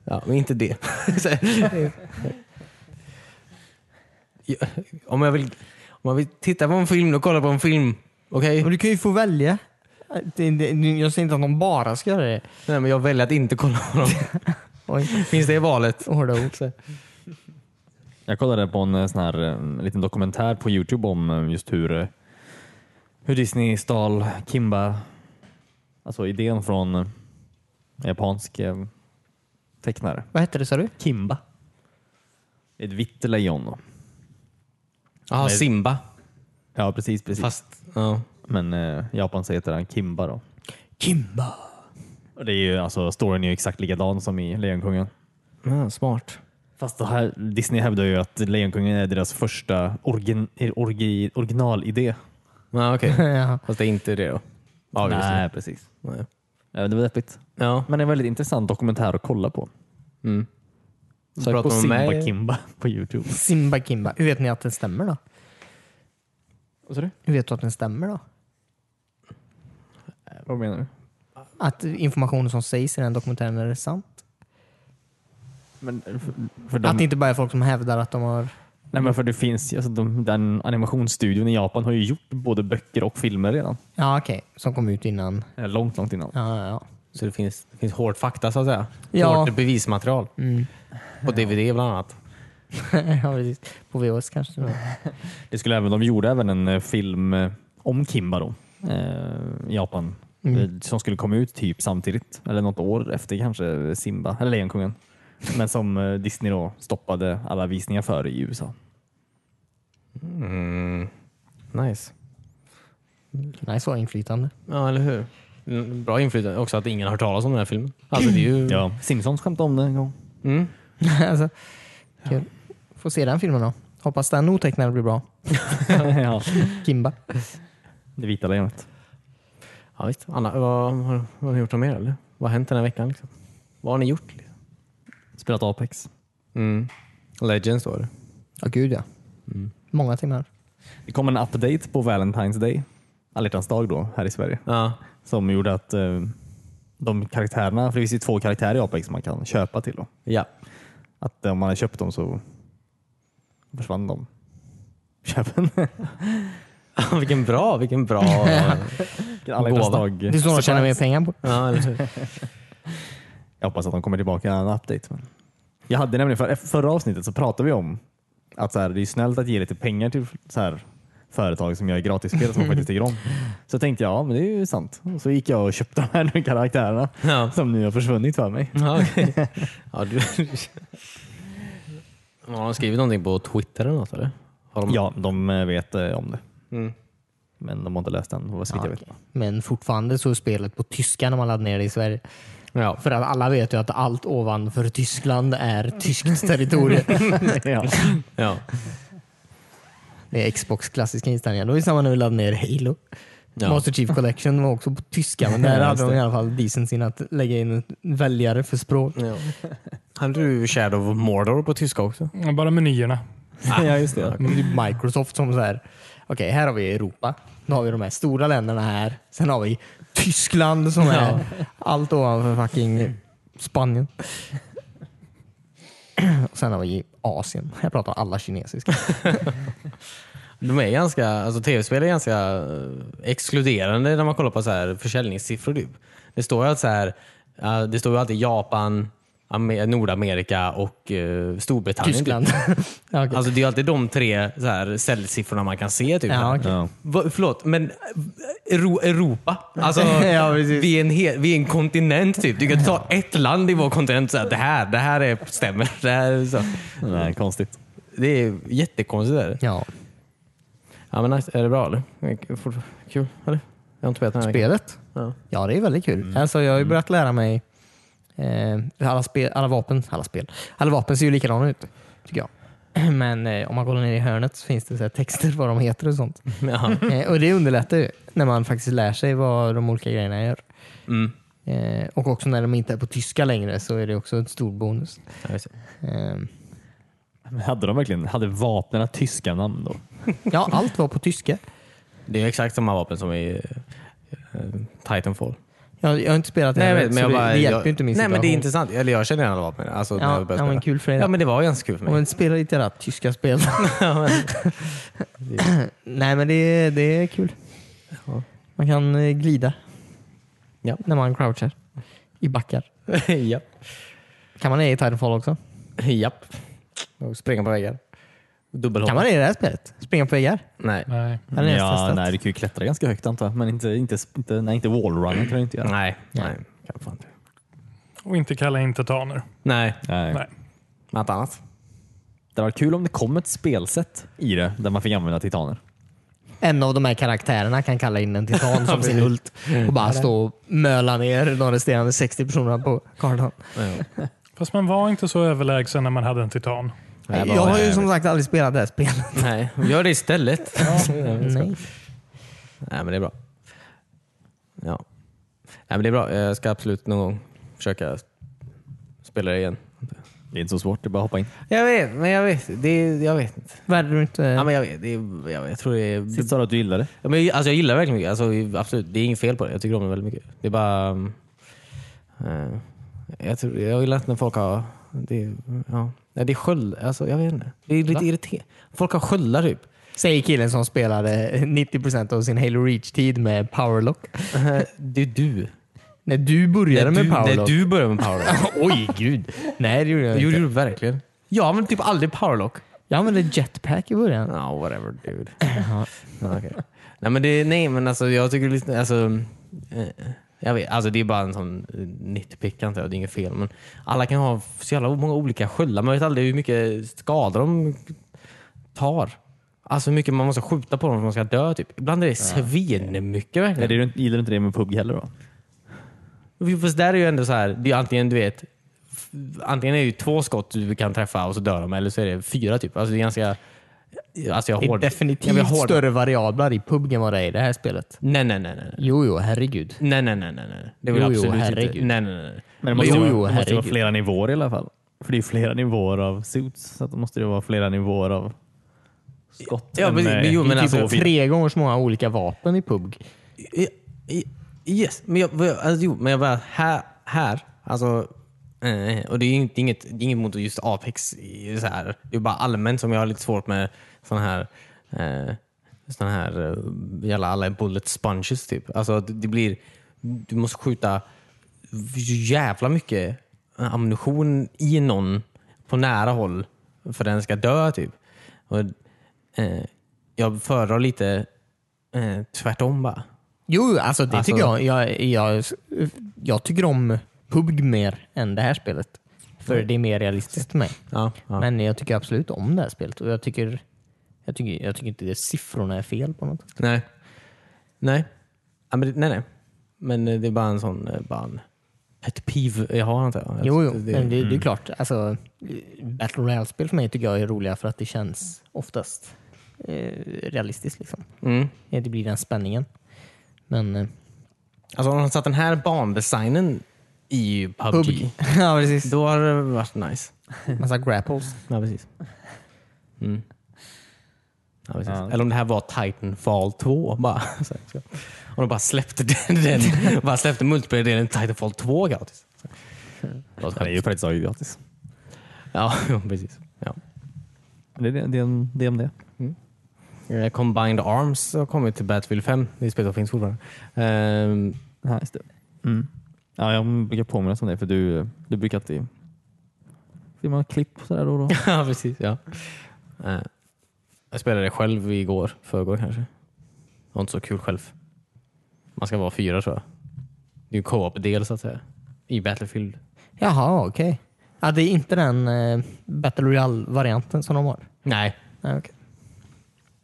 Speaker 1: Ja, men inte det. [LAUGHS] Så här. Ja, om, jag vill, om jag vill titta på en film, då kolla på en film. Okej?
Speaker 2: Men du kan ju få välja. Det, det, jag säger inte att de bara ska göra det.
Speaker 1: Nej, men jag väljer att inte kolla på dem. [LAUGHS]
Speaker 2: Oj,
Speaker 1: Finns det i valet?
Speaker 2: hårda ord.
Speaker 3: Jag kollade på en eh, sån här eh, liten dokumentär på Youtube om eh, just hur, eh, hur Disney stal Kimba, alltså idén från eh, en japansk eh, tecknare.
Speaker 2: Vad hette det sa du?
Speaker 3: Kimba. Ett vitt lejon.
Speaker 1: Jaha,
Speaker 3: Nej.
Speaker 1: Simba.
Speaker 3: Ja, precis. precis.
Speaker 1: Fast, ja.
Speaker 3: Men eh, i Japan så heter han Kimba. Då.
Speaker 2: Kimba.
Speaker 3: Och det är ju, alltså, storyn är ju exakt likadan som i Lejonkungen.
Speaker 1: Ja, smart.
Speaker 3: Fast det här, Disney hävdar ju att Lejonkungen är deras första origin, orgi, originalidé.
Speaker 1: Ja, okej.
Speaker 2: [LAUGHS] ja.
Speaker 1: Fast det är inte det då? Ja, just det.
Speaker 3: Nej, precis.
Speaker 1: Nej.
Speaker 3: Ja, Det var deppigt.
Speaker 1: Ja.
Speaker 3: Men en väldigt intressant dokumentär att kolla på.
Speaker 1: Mm.
Speaker 3: Sök
Speaker 1: Pratar
Speaker 3: på
Speaker 1: man med-
Speaker 3: Simba Kimba [LAUGHS] på Youtube.
Speaker 2: Simba Kimba. Hur vet ni att den stämmer då?
Speaker 3: Vad sa du?
Speaker 2: Hur vet du att den stämmer då?
Speaker 3: Vad menar du?
Speaker 2: Att informationen som sägs i den dokumentären är sann?
Speaker 3: Men, för, för de,
Speaker 2: Att det inte bara är folk som hävdar att de har...
Speaker 3: nej, men för det finns, alltså, de, den animationsstudion i Japan har ju gjort både böcker och filmer redan.
Speaker 2: Ja, okej. Som kom ut innan.
Speaker 3: Eh, Långt, långt innan.
Speaker 2: Ja, ja, ja.
Speaker 1: Så det finns, det finns hård fakta så att säga.
Speaker 2: Ja.
Speaker 1: Hårt bevismaterial. På DVD bland annat.
Speaker 2: Mm. [LAUGHS] ja precis. På VHS kanske. till och med.
Speaker 3: Det skulle även, de gjorde även en eh, film eh, om Kimba då, eh, i Japan.
Speaker 2: Mm.
Speaker 3: Eh, Som skulle komma ut typ samtidigt, eller något år efter kanske Simba, eller Lejonkungen. Men som eh, Disney då stoppade alla visningar för i USA.
Speaker 2: Mm.
Speaker 3: Mm.
Speaker 1: Nice.
Speaker 2: Nej, så inflytande. [LAUGHS]
Speaker 1: Ja, eller hur? Mm, Bra inflytande också att ingen har hört talas om den här filmen. Alltså det är ju...
Speaker 3: Ja, Simpsons skämtade om det en gång.
Speaker 1: Mm.
Speaker 2: alltså, kul. Får se den filmen då. Hoppas den otecknade blir bra.
Speaker 3: [LAUGHS] ja,
Speaker 2: Kimba.
Speaker 3: det vita lejonet.
Speaker 1: Ja, visst. Anna, vad, har, vad har ni gjort om er? Eller? Vad har hänt den här veckan? Liksom? Vad har ni gjort? Liksom?
Speaker 3: Spelat Apex.
Speaker 1: Mm. Legends var det.
Speaker 2: Ja, gud ja. Många timmar.
Speaker 3: Det kom en update på Valentine's Day, alla hjärtans dag då, här i Sverige.
Speaker 1: Ja.
Speaker 3: Som gjorde att eh, de karaktärerna, för det finns ju två karaktärer i Apex man kan köpa till. Då.
Speaker 1: ja. [LAUGHS]
Speaker 3: Att om man hade köpt dem så försvann de. Köpen.
Speaker 1: vilken bra, vilken bra...
Speaker 3: [LAUGHS] Alla hjärtans
Speaker 1: Gåva.
Speaker 3: dag.
Speaker 2: Det är så de tjänar mer pengar på.
Speaker 1: ja, eller hur?
Speaker 3: Jag hoppas att de kommer tillbaka i en annan update. Men... Jag hade nämligen för, förra avsnittet så pratade vi om att så här, det är snällt att ge lite pengar till så här, företag som gör gratisspel som man faktiskt tycker om. Så tänkte jag, ja men det är ju sant. Och så gick jag och köpte de här karaktärerna
Speaker 1: Ja.
Speaker 3: som nu har försvunnit för mig.
Speaker 1: Ja,
Speaker 3: [LAUGHS]
Speaker 1: okej. ja, du... Har de skrivit någonting på Twitter eller något? Eller? Har de...
Speaker 3: Ja, de eh, vet eh, om det.
Speaker 1: Mm.
Speaker 3: Men de har inte läst den, vad så vitt jag
Speaker 2: Ja,
Speaker 3: vet.
Speaker 2: okej. Men fortfarande så är spelet på tyska när man laddar ner det i Sverige.
Speaker 1: Ja.
Speaker 2: För att alla vet ju att allt ovanför Tyskland är tyskt [LAUGHS] territorium.
Speaker 3: ja.
Speaker 1: Ja.
Speaker 2: det är Xbox klassiska inställningar. Det var ju samma när vi laddade ner Halo.
Speaker 1: Ja.
Speaker 2: Master Chief Collection var också på
Speaker 1: [LAUGHS]
Speaker 2: tyska, men där
Speaker 1: Ja,
Speaker 2: hade
Speaker 1: just
Speaker 2: de
Speaker 1: det.
Speaker 2: i alla fall decency att lägga in ett väljare för språk.
Speaker 1: Ja. Hade du Shadow of Mordor på tyska också?
Speaker 4: Bara menyerna.
Speaker 3: [LAUGHS] ja, just det.
Speaker 2: Det är Microsoft som så här, okej här har vi Europa, nu har vi de här stora länderna här, sen har vi Tyskland som är allt ovanför fucking Spanien. Och sen har vi Asien, här pratar alla kinesiska.
Speaker 1: De är ganska, alltså tv-spel är ganska eh, exkluderande när man kollar på så här försäljningssiffror. Typ. Det står ju att så här, eh, det står ju alltid Japan, Amer- Nordamerika och eh, Storbritannien.
Speaker 2: Tyskland.
Speaker 1: Typ.
Speaker 2: [LAUGHS] ja, okej.
Speaker 1: Alltså det är ju alltid de tre så här, säljsiffrorna man kan se. Typ.
Speaker 2: ja, okej.
Speaker 3: [LAUGHS] Ja.
Speaker 1: Va, förlåt, men eh, Ero- Europa? Alltså,
Speaker 2: [LAUGHS] Ja, precis.
Speaker 1: vi, är en hel, vi är en kontinent typ. Du kan inte ta ett land i vår kontinent och säga det här, det här är, stämmer. Det, här är så.
Speaker 3: Nej, konstigt.
Speaker 1: det är jättekonstigt. Är det.
Speaker 2: ja.
Speaker 1: Ja, men nice. Är det bra eller? Fort- Kul eller? Jag har inte spelat den här veckan.
Speaker 2: Spelet?
Speaker 1: Ja. Mm.
Speaker 2: Ja, det är väldigt kul. Alltså, jag har ju börjat lära mig eh, alla, spel, alla vapen. Alla spel. Alla vapen ser ju likadana ut, tycker jag. [CLEARS THROAT] Men eh, om man kollar ner i hörnet så finns det så här texter vad de heter och sånt.
Speaker 1: [LAUGHS] Ja.
Speaker 2: Eh, och Det underlättar ju när man faktiskt lär sig vad de olika grejerna gör.
Speaker 1: Mm.
Speaker 2: Eh, och också när de inte är på tyska längre så är det också en stor bonus.
Speaker 1: Ja, just det.
Speaker 2: Eh,
Speaker 3: Men hade de verkligen, hade vapnen tyska namn då?
Speaker 2: ja, allt var på tyska.
Speaker 1: Det är exakt samma vapen som i eh, Titanfall.
Speaker 2: Jag, jag har inte spelat det
Speaker 1: Nej, jag
Speaker 2: heller,
Speaker 1: vet, men
Speaker 2: så
Speaker 1: jag
Speaker 2: det,
Speaker 1: bara,
Speaker 2: det hjälper
Speaker 1: jag,
Speaker 2: ju inte min
Speaker 1: Nej, men det är
Speaker 2: situation.
Speaker 1: intressant. Eller jag känner igen alla vapen. Alltså, när
Speaker 2: Ja,
Speaker 1: jag började
Speaker 2: ja, men
Speaker 1: spela.
Speaker 2: kul för dig då.
Speaker 1: Ja, men det var ganska kul för
Speaker 2: Om
Speaker 1: mig.
Speaker 2: man spelar lite jävla
Speaker 1: [LAUGHS]
Speaker 2: tyska spel. [LAUGHS] Nej men det, det är kul. Man kan eh, glida
Speaker 1: Ja.
Speaker 2: när man crouchar i backar. [LAUGHS]
Speaker 1: Japp.
Speaker 2: Kan man det i Titanfall också?
Speaker 1: Japp. Och springa på väggar. Dubbelhoppa.
Speaker 2: Kan man det i det här spelet? Springa på väggar?
Speaker 1: Nej.
Speaker 4: Nej.
Speaker 2: Har ni ens
Speaker 3: ja,
Speaker 2: testat?
Speaker 3: nej, du kan ju klättra ganska högt antar jag, men inte, inte, inte, nej, inte wallrunning kan du inte göra.
Speaker 1: Nej. Nej. Kan fan inte.
Speaker 4: Och inte kalla in titaner.
Speaker 1: Nej.
Speaker 3: Nej.
Speaker 4: Nej.
Speaker 1: Något annat?
Speaker 3: Det var kul om det kom ett spelsätt i det där man fick använda titaner.
Speaker 2: en av de här karaktärerna kan kalla in
Speaker 1: [LAUGHS]
Speaker 2: en titan som sin hult och bara stå och möla ner de resterande 60 personerna på kartan.
Speaker 4: Fast man var inte så överlägsen när man hade en titan.
Speaker 1: Nej, bara,
Speaker 2: Jag har ju
Speaker 1: nej,
Speaker 2: som sagt aldrig spelat det här spelet. [LAUGHS]
Speaker 1: Nej, gör det [LAUGHS] istället.
Speaker 2: Nej.
Speaker 1: Nej, men det är bra. Ja. Nej, men det är bra. Jag ska absolut någon gång försöka spela det igen.
Speaker 3: Det är inte så svårt, det är bara att hoppa in.
Speaker 1: Jag vet, men jag vet, det, jag vet inte.
Speaker 2: Värde du inte...
Speaker 1: Ja, men jag, vet, det, är- jag, vet, jag tror det är...
Speaker 3: Sist sa du att du gillade det.
Speaker 1: Ja, men, jag- alltså, jag gillar det verkligen mycket. Alltså, absolut, det är inget fel på det. Jag tycker om det väldigt mycket. Det är bara... um, eh, jag, tror, jag gillar inte när folk har... Det, är- ja. Nej, det är sköld... Alltså, jag vet inte. Det är lite irriterande. Folk har sköldar [LAUGHS] typ.
Speaker 2: Säger killen som spelade 90% av sin Halo Reach-tid med powerlock.
Speaker 1: Eh, det är du.
Speaker 2: När du
Speaker 1: när,
Speaker 2: började med
Speaker 1: du när
Speaker 2: powerlock.
Speaker 1: du [LAUGHS] började med powerlock.
Speaker 2: Oj, gud. Nej, det gjorde jag
Speaker 1: Det gjorde
Speaker 2: inte.
Speaker 1: du verkligen. Ja, men typ aldrig powerlock.
Speaker 2: Jag använde jetpack i början.
Speaker 1: Ja, whatever dude. Ja, okej. Nej men, det, nej men alltså jag tycker lite, alltså, eh, jag vet, alltså det är bara en sån eh, nitpick antar jag, det är inget fel. Men alla kan ha så jävla många olika sköldar, man vet aldrig hur mycket skador de tar. Alltså hur mycket man måste skjuta på dem för att de ska dö typ. Ibland är det svinmycket
Speaker 3: Nej,
Speaker 1: verkligen.
Speaker 3: det är, ju inte- gillar du inte det med PubG heller då?
Speaker 1: Fast där är ju ändå så här, det är ju antingen du vet, f- antingen är det ju två skott du kan träffa och så dör de, eller så är det fyra typ. Alltså det är ganska, alltså jag
Speaker 2: Det är
Speaker 1: hård- jag
Speaker 2: definitivt
Speaker 1: vill hård-
Speaker 2: större variabler i PUBG än vad det är i det här spelet.
Speaker 1: Nej, nej, nej, nej.
Speaker 2: Jo, jo, herregud.
Speaker 1: Nej, nej, nej, nej. nej. Det vill
Speaker 2: Jo,
Speaker 1: jag
Speaker 2: jo,
Speaker 1: absolut inte.
Speaker 2: herregud.
Speaker 1: Nej, nej, nej.
Speaker 3: Men
Speaker 2: måste
Speaker 3: det måste,
Speaker 2: Jo, vara- jo,
Speaker 3: vara,
Speaker 2: det måste vara herregud.
Speaker 3: flera nivåer i alla fall. För det är ju flera nivåer av suits, så att då måste det vara flera nivåer av skott.
Speaker 1: Ja,
Speaker 3: än,
Speaker 1: precis.
Speaker 3: eh,
Speaker 1: Men jo,
Speaker 2: Det
Speaker 1: men
Speaker 2: är
Speaker 1: alltså...
Speaker 2: typ tre gånger så många olika vapen i PUBG.
Speaker 1: I- i- Yes, men jag, vad jag- alltså, jo, men jag bara här, här alltså, eh, och det är ju inte, inget, det är inget mot just Apex. i- Så här. Det är bara allmänt som jag har lite svårt med sådana här, eh, såna här eh, jävla alla bullet sponges typ. Alltså att det blir, du måste skjuta jävla mycket ammunition i någon på nära håll för den ska dö typ. Och, eh, jag föredrar lite eh, tvärtom bara.
Speaker 2: Jo, alltså det
Speaker 1: Alltså-
Speaker 2: tycker jag, jag, jag. Jag tycker om PUBG mer än det här spelet. För det är mer realistiskt för mig.
Speaker 1: Ja, ja.
Speaker 2: Men jag tycker absolut om det här spelet och jag tycker, jag tycker, jag tycker inte det, siffrorna är fel på något.
Speaker 1: Nej. Nej. Ja, men, det- nej, nej. Men eh, det är bara en sån, eh, bara en, ett piv jag har antar jag.
Speaker 2: Jo, Mm. jo,
Speaker 1: Alltså, Det- mm.
Speaker 2: men det, det är klart. Alltså, Battle Royale-spel för mig tycker jag är roliga för att det känns oftast eh, realistiskt. Liksom.
Speaker 1: Mm.
Speaker 2: Eh, Det blir den spänningen. Men eh,
Speaker 1: Alltså om de satt den här bandesignen i PubG,
Speaker 2: PUBG. [LAUGHS] ja, precis.
Speaker 1: då har det varit nice.
Speaker 2: Massa grapples.
Speaker 1: Ja, precis. Mm. Ja, precis.
Speaker 3: Ja.
Speaker 1: Eller om det här var Titanfall 2. Bara, [LAUGHS] så här, så. Om de bara släppte den, den bara släppte multiplayer-delen i Titanfall 2 gratis. Så. Det var ett
Speaker 3: Det är ju
Speaker 1: skämt.
Speaker 3: faktiskt så gratis.
Speaker 1: Ja, [LAUGHS] jo, precis. Ja.
Speaker 3: Det är det, det, är en- det är om det.
Speaker 1: Eh, Combined Arms har kommit till Battlefield 5. Det är spelet som finns fortfarande. Ehm, [LAUGHS]
Speaker 3: Ja, just det. Mm. Ja, jag brukar påminnas om det för du, du brukar alltid filma klipp sådär då och då.
Speaker 1: ja, precis. Ja. Eh, jag spelade det själv igår, förrgår kanske. Det var inte så kul själv. Man ska vara fyra tror jag. Det är ju en co-op-del så att säga. I Battlefield.
Speaker 2: Jaha, okej. Ja, det är inte den eh, Battle Royale-varianten som de har?
Speaker 1: Nej,
Speaker 2: Nej, okej.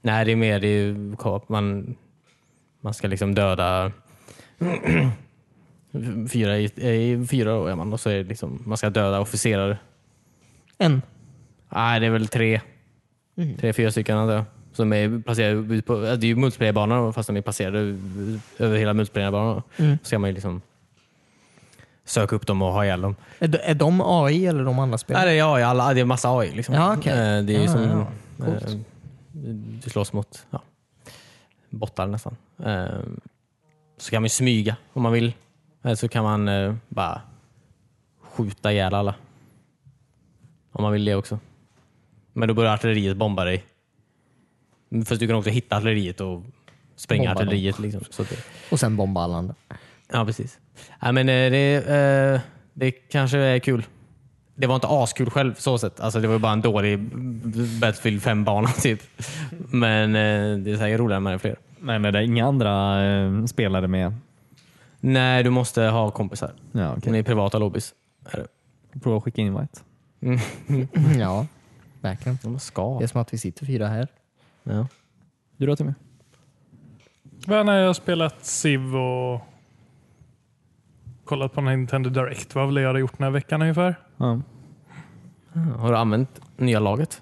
Speaker 1: Nej det är mer det är ju co-op. Man, man ska liksom döda [CLEARS THROAT] fyra, i, eh, fyra då är man och så är det liksom, man ska döda officerare.
Speaker 2: En.
Speaker 1: Nej, det är väl tre. Tre, fyra stycken antar jag. Som är placerade ut på, det är ju multiplayerbanor fast de är placerade över hela multiplayerbanan.
Speaker 2: Mm.
Speaker 1: Så ska man ju liksom söka upp dem och ha ihjäl dem.
Speaker 2: Är, de- är de AI eller de andra spelen?
Speaker 1: Nej, det är AI, alla, det är massa AI. Liksom.
Speaker 2: Ja, okej.
Speaker 1: Eh, Det är ju
Speaker 2: Ja,
Speaker 1: som,
Speaker 2: ja, ja.
Speaker 1: eh,
Speaker 2: Coolt.
Speaker 1: du slåss mot ja, bottar nästan. Eh, Så kan man ju smyga om man vill. Eller så kan man eh, bara skjuta ihjäl alla. Om man vill det också. Men då börjar artilleriet bomba dig. Fast du kan också hitta artilleriet och spränga
Speaker 2: Bomba dem.
Speaker 1: artilleriet. Liksom. Så att det,
Speaker 2: Och sen bomba alla andra.
Speaker 1: Ja, precis. Ja, men, eh, det, eh, det kanske är kul. Det var inte askul själv så sett. Alltså, det var ju bara en dålig Battlefield 5-bana [LAUGHS] typ. Men eh, det är säkert roligare med fler.
Speaker 3: [LAUGHS] Nej, nej, det är inga andra eh, spelare med.
Speaker 1: Nej, du måste ha kompisar.
Speaker 3: Ja,
Speaker 1: Okay.
Speaker 3: okay.
Speaker 1: Ni är privata lobbys. Är det?
Speaker 3: Prova att skicka invite.
Speaker 1: Mm.
Speaker 2: ja, verkligen.
Speaker 1: De ska.
Speaker 2: Det är som att vi sitter fyra här.
Speaker 1: Ja.
Speaker 3: Du då Timmy?
Speaker 4: Men nej, jag har spelat Civ och kollat på Nintendo Direct. Vad har väl jag gjort den här veckan ungefär?
Speaker 3: Ja.
Speaker 1: Har du använt nya laget?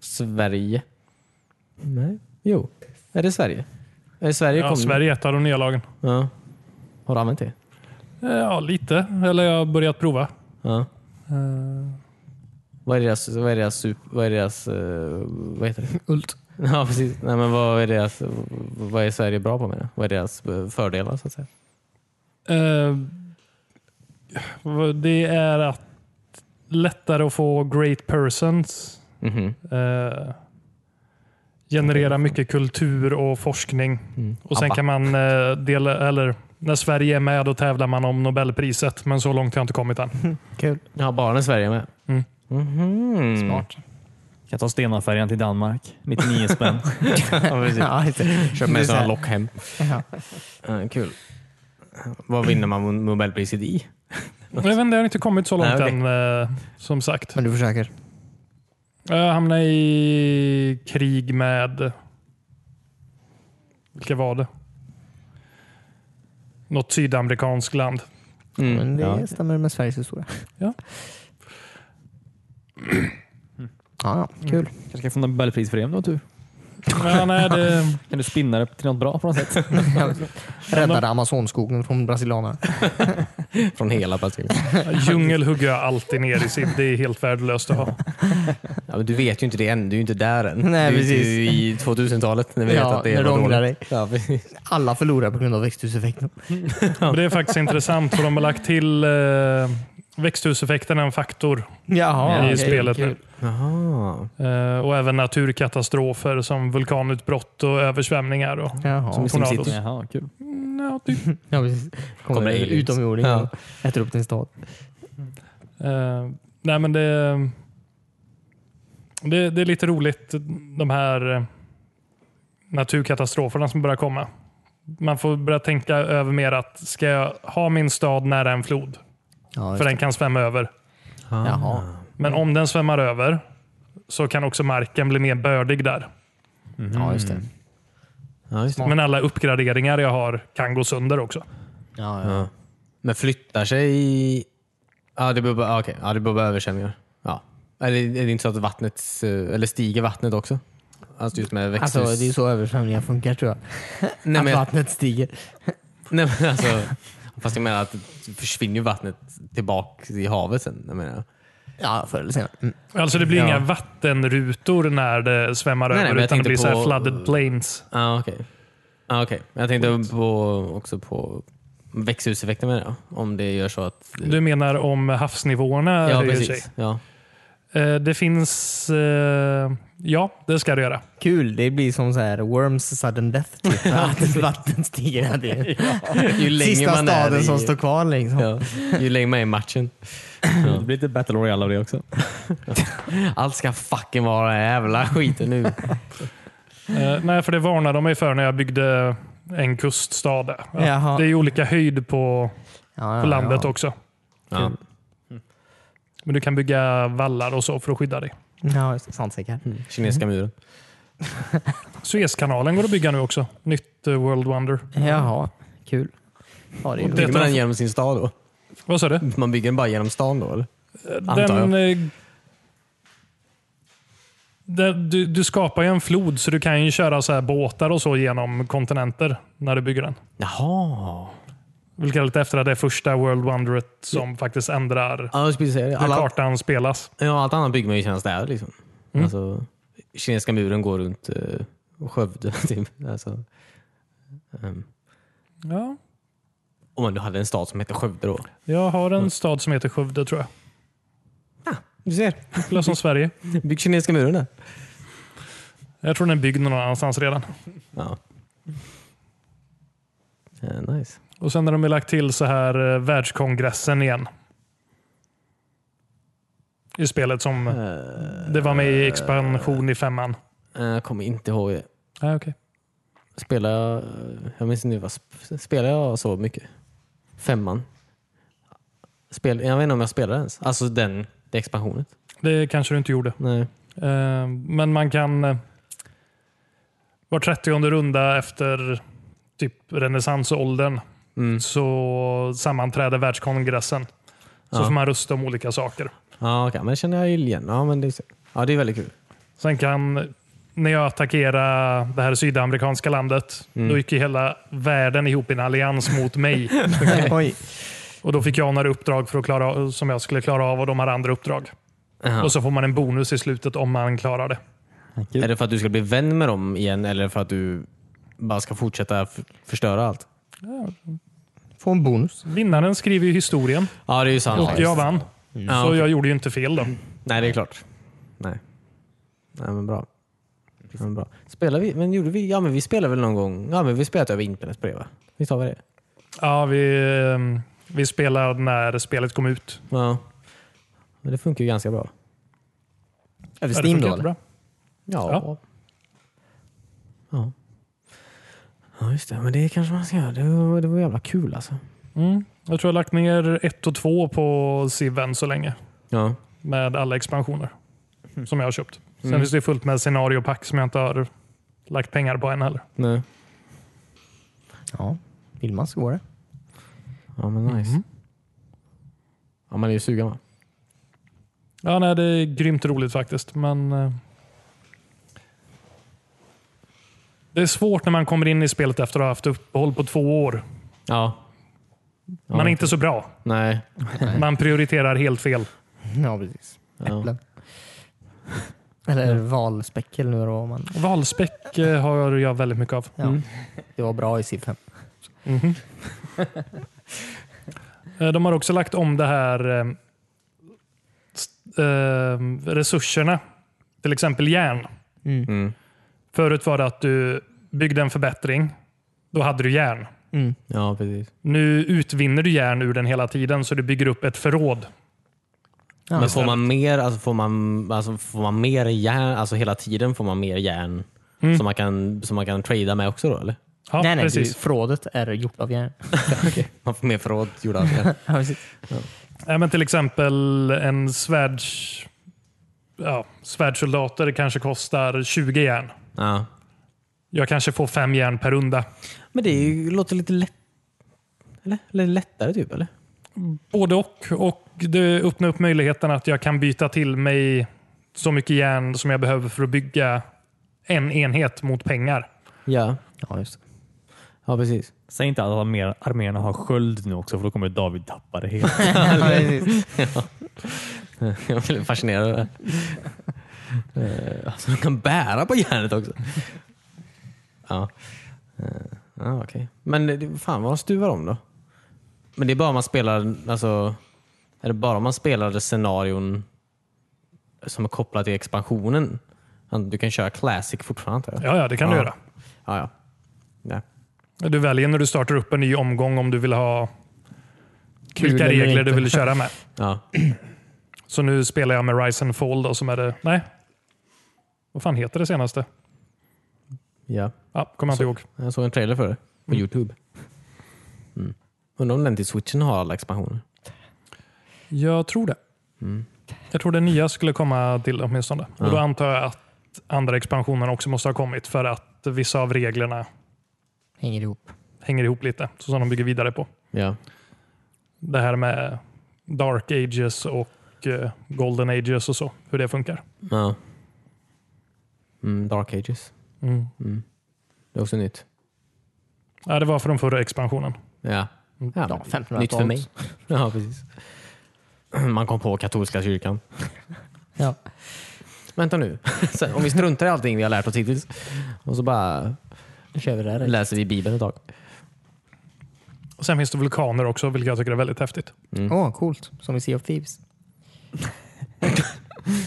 Speaker 1: Sverige? Nej. Jo. Är det Sverige? Är det Sverige
Speaker 4: Ja,
Speaker 1: kom-
Speaker 4: Sverige är ett av de nya lagen.
Speaker 1: Ja. Har du använt det?
Speaker 4: Eh, Ja, lite. Eller jag har börjat prova.
Speaker 1: Ja.
Speaker 4: Eh,
Speaker 1: Vad är deras... Vad är deras... sup- Vad, är deras, eh, vad heter det? Ult. Ja, precis. Nej, men vad, är deras, vad är Sverige bra på med det? Vad är deras eh, fördelar så att säga?
Speaker 4: Eh, det är att lättare att få great persons.
Speaker 1: Mhm.
Speaker 4: Eh, generera mycket kultur och forskning.
Speaker 1: Mm.
Speaker 4: Och Sen
Speaker 1: Abba.
Speaker 4: kan man eh, dela, eller när Sverige är med då tävlar man om Nobelpriset. Men så långt har jag inte kommit än.
Speaker 1: Mm.
Speaker 2: Kul.
Speaker 1: Ja, bara när Sverige är med.
Speaker 4: Mm.
Speaker 1: Mhm.
Speaker 3: Smart. Kan ta Stenafärjan till Danmark. [LAUGHS] 99 spänn.
Speaker 1: Ja, precis.
Speaker 2: Ja, just det.
Speaker 1: Köp
Speaker 2: Det är
Speaker 1: med [LAUGHS]
Speaker 2: så här-
Speaker 1: sådana lock hem.
Speaker 2: Ja.
Speaker 1: Ja, kul. Vad vinner man Nobelpriset i?
Speaker 4: Jag vet inte, jag har inte kommit så långt
Speaker 1: Nej, okej.
Speaker 4: än. eh, Som sagt.
Speaker 2: Men du försöker?
Speaker 4: Jag hamnade i krig med... Vilka var det? Något sydamerikanskt land.
Speaker 2: Men det
Speaker 1: Mm. Ja.
Speaker 2: stämmer med Sveriges historia.
Speaker 4: Ja.
Speaker 2: Ja,
Speaker 1: Mm.
Speaker 2: ja, kul.
Speaker 3: Kanske kan få Nobelpris för det om du har tur.
Speaker 4: Ja, nej, eh, det,
Speaker 1: [LAUGHS]
Speaker 3: Kan du spinna det till något bra på något sätt? [LAUGHS]
Speaker 2: Räddade Amazonskogen från brasilianerna.
Speaker 1: Från hela Brasilien.
Speaker 4: djungel hugger jag alltid ner i sitt. Det är helt värdelöst att ha.
Speaker 1: Ja, men du vet ju inte det än. Du är ju inte där än.
Speaker 2: Nej,
Speaker 1: du är ju
Speaker 2: precis.
Speaker 1: inte i 2000-talet när vi vet
Speaker 2: Ja,
Speaker 1: att det
Speaker 2: när
Speaker 1: är
Speaker 2: du ångrar dig.
Speaker 1: Ja, precis.
Speaker 2: Alla förlorar på grund av växthuseffekten.
Speaker 4: Men det är faktiskt intressant för de har lagt till eh, växthuseffekten är en faktor
Speaker 2: Jaha.
Speaker 4: i spelet nu.
Speaker 1: Jaha.
Speaker 4: Eh, och även naturkatastrofer som vulkanutbrott och översvämningar. Och,
Speaker 2: Jaha.
Speaker 1: Som i
Speaker 4: tornados.
Speaker 1: SimCity.
Speaker 3: Jaha, kul.
Speaker 4: ja, typ.
Speaker 2: Ja, precis. Kommer,
Speaker 1: Kommer
Speaker 2: Kommer
Speaker 1: aliens.
Speaker 2: utomjordingar
Speaker 1: Ja.
Speaker 2: och äter upp din stad.
Speaker 4: Eh, nej, men det, det, det är lite roligt de här eh, naturkatastroferna som börjar komma. Man får börja tänka över mer att ska jag ha min stad nära en flod?
Speaker 2: Ja, just
Speaker 4: För
Speaker 2: det.
Speaker 4: den kan svämma över.
Speaker 1: Ah.
Speaker 2: Jaha.
Speaker 4: Men
Speaker 1: Mm.
Speaker 4: om den svämmar över så kan också marken bli mer bördig där.
Speaker 3: Mm-hmm.
Speaker 2: Ja, just det.
Speaker 1: Ja, just det.
Speaker 4: Men alla uppgraderingar jag har kan gå sönder också.
Speaker 2: Ja, ja.
Speaker 1: Ja. Men flyttar sig i... Ja, det blir bara, ja, okej. ja, det blir bara översvämningar. Ja. Eller är det inte så att vattnet... eh, Eller stiger vattnet också? Alltså just med växthus...
Speaker 2: Alltså, det är ju så översvämningar funkar tror jag.
Speaker 1: Nej, men
Speaker 2: Att
Speaker 1: jag,
Speaker 2: vattnet stiger.
Speaker 1: [LAUGHS] nej, men alltså... Fast jag menar att det försvinner ju vattnet tillbaka i havet sen. Jag menar.
Speaker 2: Ja, förr eller senare. Mm.
Speaker 4: Alltså det blir
Speaker 1: Ja.
Speaker 4: inga vattenrutor när det svämmar
Speaker 1: Nej, nej, men
Speaker 4: över
Speaker 1: jag
Speaker 4: utan det
Speaker 1: tänkte
Speaker 4: blir så här
Speaker 1: på-
Speaker 4: flooded plains.
Speaker 1: Ja, okej. Ja, okej. Jag tänkte på, också på växthuseffekten med det. ja. Om det gör så att...
Speaker 4: Du menar om havsnivåerna
Speaker 1: ja,
Speaker 4: höjer sig?
Speaker 1: precis. Ja.
Speaker 4: Eh, Det finns... eh, Ja, det ska det göra.
Speaker 2: Kul, det blir som så här Worms sudden death.
Speaker 1: [LAUGHS]
Speaker 2: Typ. att vattnet stiger. Det är
Speaker 1: Ju längre
Speaker 2: sista
Speaker 1: man är
Speaker 2: staden
Speaker 1: i,
Speaker 2: som står kvar liksom.
Speaker 1: ja, Ju längre man är i matchen.
Speaker 3: Det blir lite Battle Royale av det också.
Speaker 1: Allt ska fucking vara den här jävla skiten [LAUGHS] nu.
Speaker 4: Eh, Nej, för det varnade de mig för när jag byggde en kuststad. där. Att
Speaker 2: Jaha.
Speaker 4: Det är olika höjd på,
Speaker 2: Ja, ja,
Speaker 4: på landet
Speaker 2: ja.
Speaker 4: också.
Speaker 1: Ja.
Speaker 4: Men du kan bygga vallar och så för att skydda dig.
Speaker 2: Ja, just det. sandsäckar.
Speaker 1: Kinesiska muren.
Speaker 4: Suezkanalen går att bygga nu också. Nytt eh, World Wonder.
Speaker 2: Jaha, kul. Ja, det är
Speaker 4: det-
Speaker 2: ju
Speaker 1: Bygger man den genom sin stad då?
Speaker 4: Vad sa du?
Speaker 1: Man bygger den bara genom stan då eller? Antar
Speaker 4: Den, eh, den, du, du skapar ju en flod så du kan ju köra så här båtar och så genom kontinenter när du bygger den.
Speaker 1: Jaha.
Speaker 4: Vilket är lite efter det första World Wonderet som faktiskt ändrar
Speaker 1: Ja, jag skulle säga det.
Speaker 4: hur
Speaker 1: Alla,
Speaker 4: kartan spelas.
Speaker 1: ja, allt annat bygger man ju genom städer liksom. Alltså, kinesiska muren går runt eh, Skövde. [LAUGHS] Typ. Alltså, ehm,
Speaker 4: Ja,
Speaker 1: om man nu hade en stad som hette Skövde då.
Speaker 4: jag har en stad som heter Skövde tror jag.
Speaker 1: Du ser.
Speaker 4: Plus som Sverige.
Speaker 1: Bygg kinesiska muren där.
Speaker 4: Jag tror den är byggd någon annanstans redan.
Speaker 1: Ja. Eh, nice.
Speaker 4: Och sen har de ju lagt till så här eh, världskongressen igen. I spelet som Mm. det var med i expansion i femman.
Speaker 1: Eh, Jag kommer inte ihåg det.
Speaker 4: Ah, okay.
Speaker 1: Spelar jag... Jag minns inte. vad sp- Spelar jag så mycket? Femman? Spel, jag vet inte om jag spelar ens. Alltså den, det expansionet.
Speaker 4: Det kanske du inte gjorde.
Speaker 1: Nej.
Speaker 4: Eh, Men man kan eh, var 30 runda efter typ renässansåldern
Speaker 1: Mm.
Speaker 4: så sammanträder världskongressen. Så
Speaker 1: Ja.
Speaker 4: får man rösta om olika saker.
Speaker 1: Ja, okej. Men det känner jag ju igen. Ja, men det, ja, det är väldigt kul.
Speaker 4: Sen kan, när jag attackerade det här sydamerikanska landet,
Speaker 1: Mm.
Speaker 4: då gick ju hela världen ihop i en allians
Speaker 1: [LAUGHS]
Speaker 4: mot mig.
Speaker 2: [LAUGHS] Oj.
Speaker 4: Och Då fick jag några uppdrag för att klara, som jag skulle klara av och de hade andra uppdrag. Och så får man en bonus i slutet om man klarar det.
Speaker 1: Är det för att du ska bli vän med dem igen eller för att du bara ska fortsätta f- förstöra allt?
Speaker 2: Få en bonus.
Speaker 4: Vinnaren skriver ju historien
Speaker 1: Ja, det är ju sant.
Speaker 4: och
Speaker 1: faktiskt.
Speaker 4: jag vann.
Speaker 1: Ja,
Speaker 4: Så
Speaker 1: okej.
Speaker 4: jag gjorde ju inte fel då.
Speaker 1: Nej, det är klart. Nej. Nej, men bra. Ja, Men bra. Spelar vi? Men gjorde vi? Ja, men vi spelade väl någon gång? Ja, men vi spelade över internet på det va? Visst har vi det?
Speaker 4: Ja, vi, eh, vi spelade när spelet kom ut.
Speaker 1: Ja. Men det funkar ju ganska bra.
Speaker 2: Över
Speaker 4: Ja, det
Speaker 2: Steam
Speaker 4: funkar
Speaker 2: då eller?
Speaker 4: jättebra.
Speaker 1: Ja.
Speaker 4: Ja.
Speaker 1: Ja. Ja, just det. Men det kanske man ska göra. Det var, det var jävla kul alltså.
Speaker 4: Mm. Jag tror jag har lagt ner ett och två på Civen så länge.
Speaker 1: Ja.
Speaker 4: Med alla expansioner som jag har köpt. Sen finns det fullt med scenariopack som jag inte har lagt pengar på än heller.
Speaker 1: Nej.
Speaker 2: Ja. Vill man så går det. [LAUGHS]
Speaker 1: Ja, men nice. Ja, man är ju sugen va?
Speaker 4: Ja, nej, det är grymt roligt faktiskt. Men eh, Det är svårt när man kommer in i spelet efter att ha haft uppehåll på två år.
Speaker 1: Ja.
Speaker 4: Man är inte så bra.
Speaker 1: Nej.
Speaker 4: Man prioriterar helt fel.
Speaker 2: Ja, precis. Äpplen. Eller valspäckel nu då. om Man.
Speaker 4: Valspäck eh, har jag väldigt mycket av.
Speaker 2: Ja. Det var bra i Civ 5.
Speaker 4: [LAUGHS] Eh, De har också lagt om det här eh, st- eh, resurserna. Till exempel järn.
Speaker 2: Mm.
Speaker 1: Mm.
Speaker 4: Förut var det att du byggde en förbättring. Då hade du järn.
Speaker 2: Mm.
Speaker 1: Ja, precis.
Speaker 4: Nu utvinner du järn ur den hela tiden så du bygger upp ett förråd.
Speaker 2: Ja.
Speaker 1: Men får man mer, alltså får man, alltså får man mer järn, alltså hela tiden får man mer järn som, man kan, som man kan trada med också då eller?
Speaker 4: Ja,
Speaker 2: nej, nej.
Speaker 4: precis.
Speaker 2: Precis. Förrådet är gjort av järn. [LAUGHS]
Speaker 1: [LAUGHS] Man får mer förråd gjorda av [LAUGHS] järn.
Speaker 2: Ja, precis.
Speaker 4: Ja, men till exempel en svärds... Ja, svärdssoldater kanske kostar 20 järn.
Speaker 1: Ja.
Speaker 4: Jag kanske får fem järn per runda.
Speaker 1: Men det är ju, låter lite lätt, eller? eller lättare typ eller?
Speaker 4: Både och. och Det öppnar upp möjligheten att jag kan byta till mig så mycket järn som jag behöver för att bygga en enhet mot pengar.
Speaker 1: Ja,
Speaker 2: Ja, just det.
Speaker 1: ja [LAUGHS] precis.
Speaker 3: Säg inte att armé- arméerna har sköld nu också för då kommer David tappa det [LAUGHS] helt.
Speaker 2: Ja, precis.
Speaker 1: Jag blir fascinerad av det. här. Eh, Alltså de kan bära på järnet också. Ja, Eh, ja okej. Men det- fan vad de stuvar om då. Men det är bara om man spelar, alltså, är det bara om man spelar scenarion som är kopplat till expansionen? Du kan köra classic fortfarande antar jag?
Speaker 4: Ja, ja det kan du
Speaker 1: Ja.
Speaker 4: göra.
Speaker 1: Ja, ja. ja.
Speaker 4: Du väljer när du startar upp en ny omgång om du vill ha
Speaker 2: Kul
Speaker 4: vilka
Speaker 2: eller
Speaker 4: regler
Speaker 2: inte.
Speaker 4: du vill köra [LAUGHS] med.
Speaker 1: ja.
Speaker 4: Så nu spelar jag med Rise and Fall då, som är det... Nej. Vad fan heter det senaste?
Speaker 1: ja.
Speaker 4: Ja, kommer jag inte ihåg.
Speaker 1: Jag såg en trailer för det på Youtube. Mm. Undrar om den till switchen har alla expansioner?
Speaker 4: Jag tror det. Jag tror det nya skulle komma till åtminstone. Och då antar jag att andra expansionerna också måste ha kommit för att vissa av reglerna
Speaker 2: Hänger ihop.
Speaker 4: hänger ihop lite. Så som de bygger vidare på.
Speaker 1: Ja.
Speaker 4: Det här med Dark Ages och eh, Golden Ages och så. Hur det funkar.
Speaker 1: Ja. Mm, Dark Ages.
Speaker 4: Mm.
Speaker 1: Det är också nytt.
Speaker 4: Ja, det var från förra expansionen.
Speaker 1: Ja. Ja,
Speaker 2: Ja,
Speaker 1: men
Speaker 2: 1500-talet.
Speaker 1: nytt för mig. Ja, precis. [CLEARS THROAT] Man kom på katolska kyrkan.
Speaker 2: Ja.
Speaker 1: Vänta nu. [LAUGHS] Sen, om vi struntar i allting vi har lärt oss hittills och så bara
Speaker 2: Nu kör vi det här.
Speaker 1: läser vi Bibeln ett tag.
Speaker 4: Och sen finns det vulkaner också, vilket jag tycker är väldigt häftigt.
Speaker 1: Mm.
Speaker 2: Åh, coolt. Som i Sea of Thieves.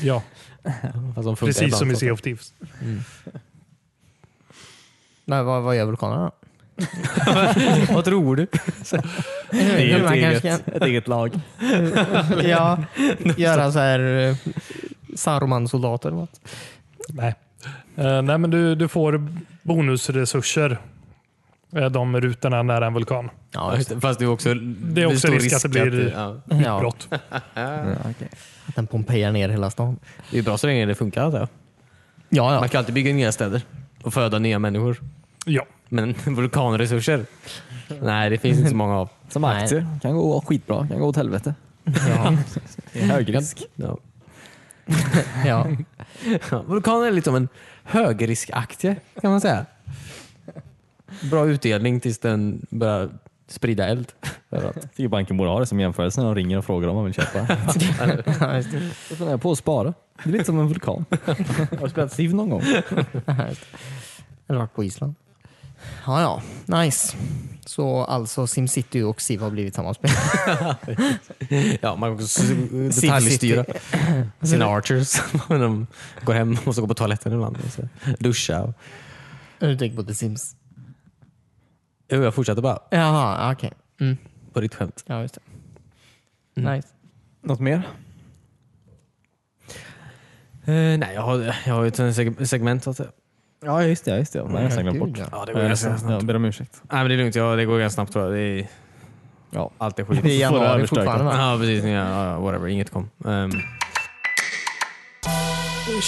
Speaker 4: Ja,
Speaker 1: Fast de funkar
Speaker 4: precis
Speaker 1: ibland
Speaker 4: som i
Speaker 1: så.
Speaker 4: Sea of Thieves.
Speaker 2: Nej, vad, vad gör vulkanerna då?
Speaker 1: Vad tror du?
Speaker 3: Det är
Speaker 2: Man
Speaker 3: ett
Speaker 2: kanske
Speaker 3: eget, ett eget lag.
Speaker 2: kan ja, göra så här eh, Saruman-soldater. eller något.
Speaker 4: Nej. Eh, nej, men du, du får bonusresurser. eh, De rutorna nära en vulkan.
Speaker 1: Ja, just det. Fast det är också, det
Speaker 4: också
Speaker 1: stor
Speaker 4: risk att det blir-
Speaker 1: ja.
Speaker 2: Ja,
Speaker 4: Brott.
Speaker 2: att den pompejar ner hela stan.
Speaker 1: Det är bra så länge det funkar. antar jag.
Speaker 2: Ja, ja.
Speaker 1: Man kan alltid bygga nya städer och föda nya människor.
Speaker 4: Ja.
Speaker 1: Men [LAUGHS] vulkanresurser? Nej, det finns inte så många av.
Speaker 3: Som
Speaker 2: Nej.
Speaker 3: aktier. Kan gå skitbra. Kan gå åt helvete. Högrisk.
Speaker 1: Ja.
Speaker 2: Ja.
Speaker 1: Ja, Vulkaner är lite som en högriskaktie kan man säga. Bra utdelning tills den börjar sprida eld. [LAUGHS] överallt.
Speaker 3: Jag tycker banken borde ha det som jämförelse när de ringer och frågar om man vill [LAUGHS] köpa.
Speaker 2: Ja, just det.
Speaker 3: Jag funderar på att spara. Det är lite som en vulkan. [LAUGHS] Har du spelat Civ någon gång?
Speaker 2: Ja, just det. Eller varit på Island. Ja, ja. Nice. Så alltså Simcity och Civ har blivit samma spel. [LAUGHS]
Speaker 1: Ja, man kan också detaljstyra sina archers. [LAUGHS] När de går hem och måste gå på toaletten ibland. och så Duscha. och-
Speaker 2: Du tänker på The Sims?
Speaker 1: Jo, Jag fortsätter bara
Speaker 2: Jaha, okej. Mm.
Speaker 1: på ditt skämt.
Speaker 2: Ja, just det. Nice.
Speaker 3: Något mer?
Speaker 1: Eh, nej, jag har, jag har ju ett seg- segment. Så att säga.
Speaker 3: Ja, just det. Just det. Jag har nästan glömt bort. Eh,
Speaker 2: Gud, ja.
Speaker 1: Ja, det
Speaker 3: Jag jag ber om ursäkt.
Speaker 1: Nej, men det är lugnt. Ja, det går ganska snabbt tror jag. Det är,
Speaker 3: Ja.
Speaker 1: allt är skit.
Speaker 2: Det är
Speaker 3: Får det
Speaker 2: januari
Speaker 3: överstökat.
Speaker 2: fortfarande va?
Speaker 1: Ja, precis. Ja, Ja, whatever. Inget kom. Ehm.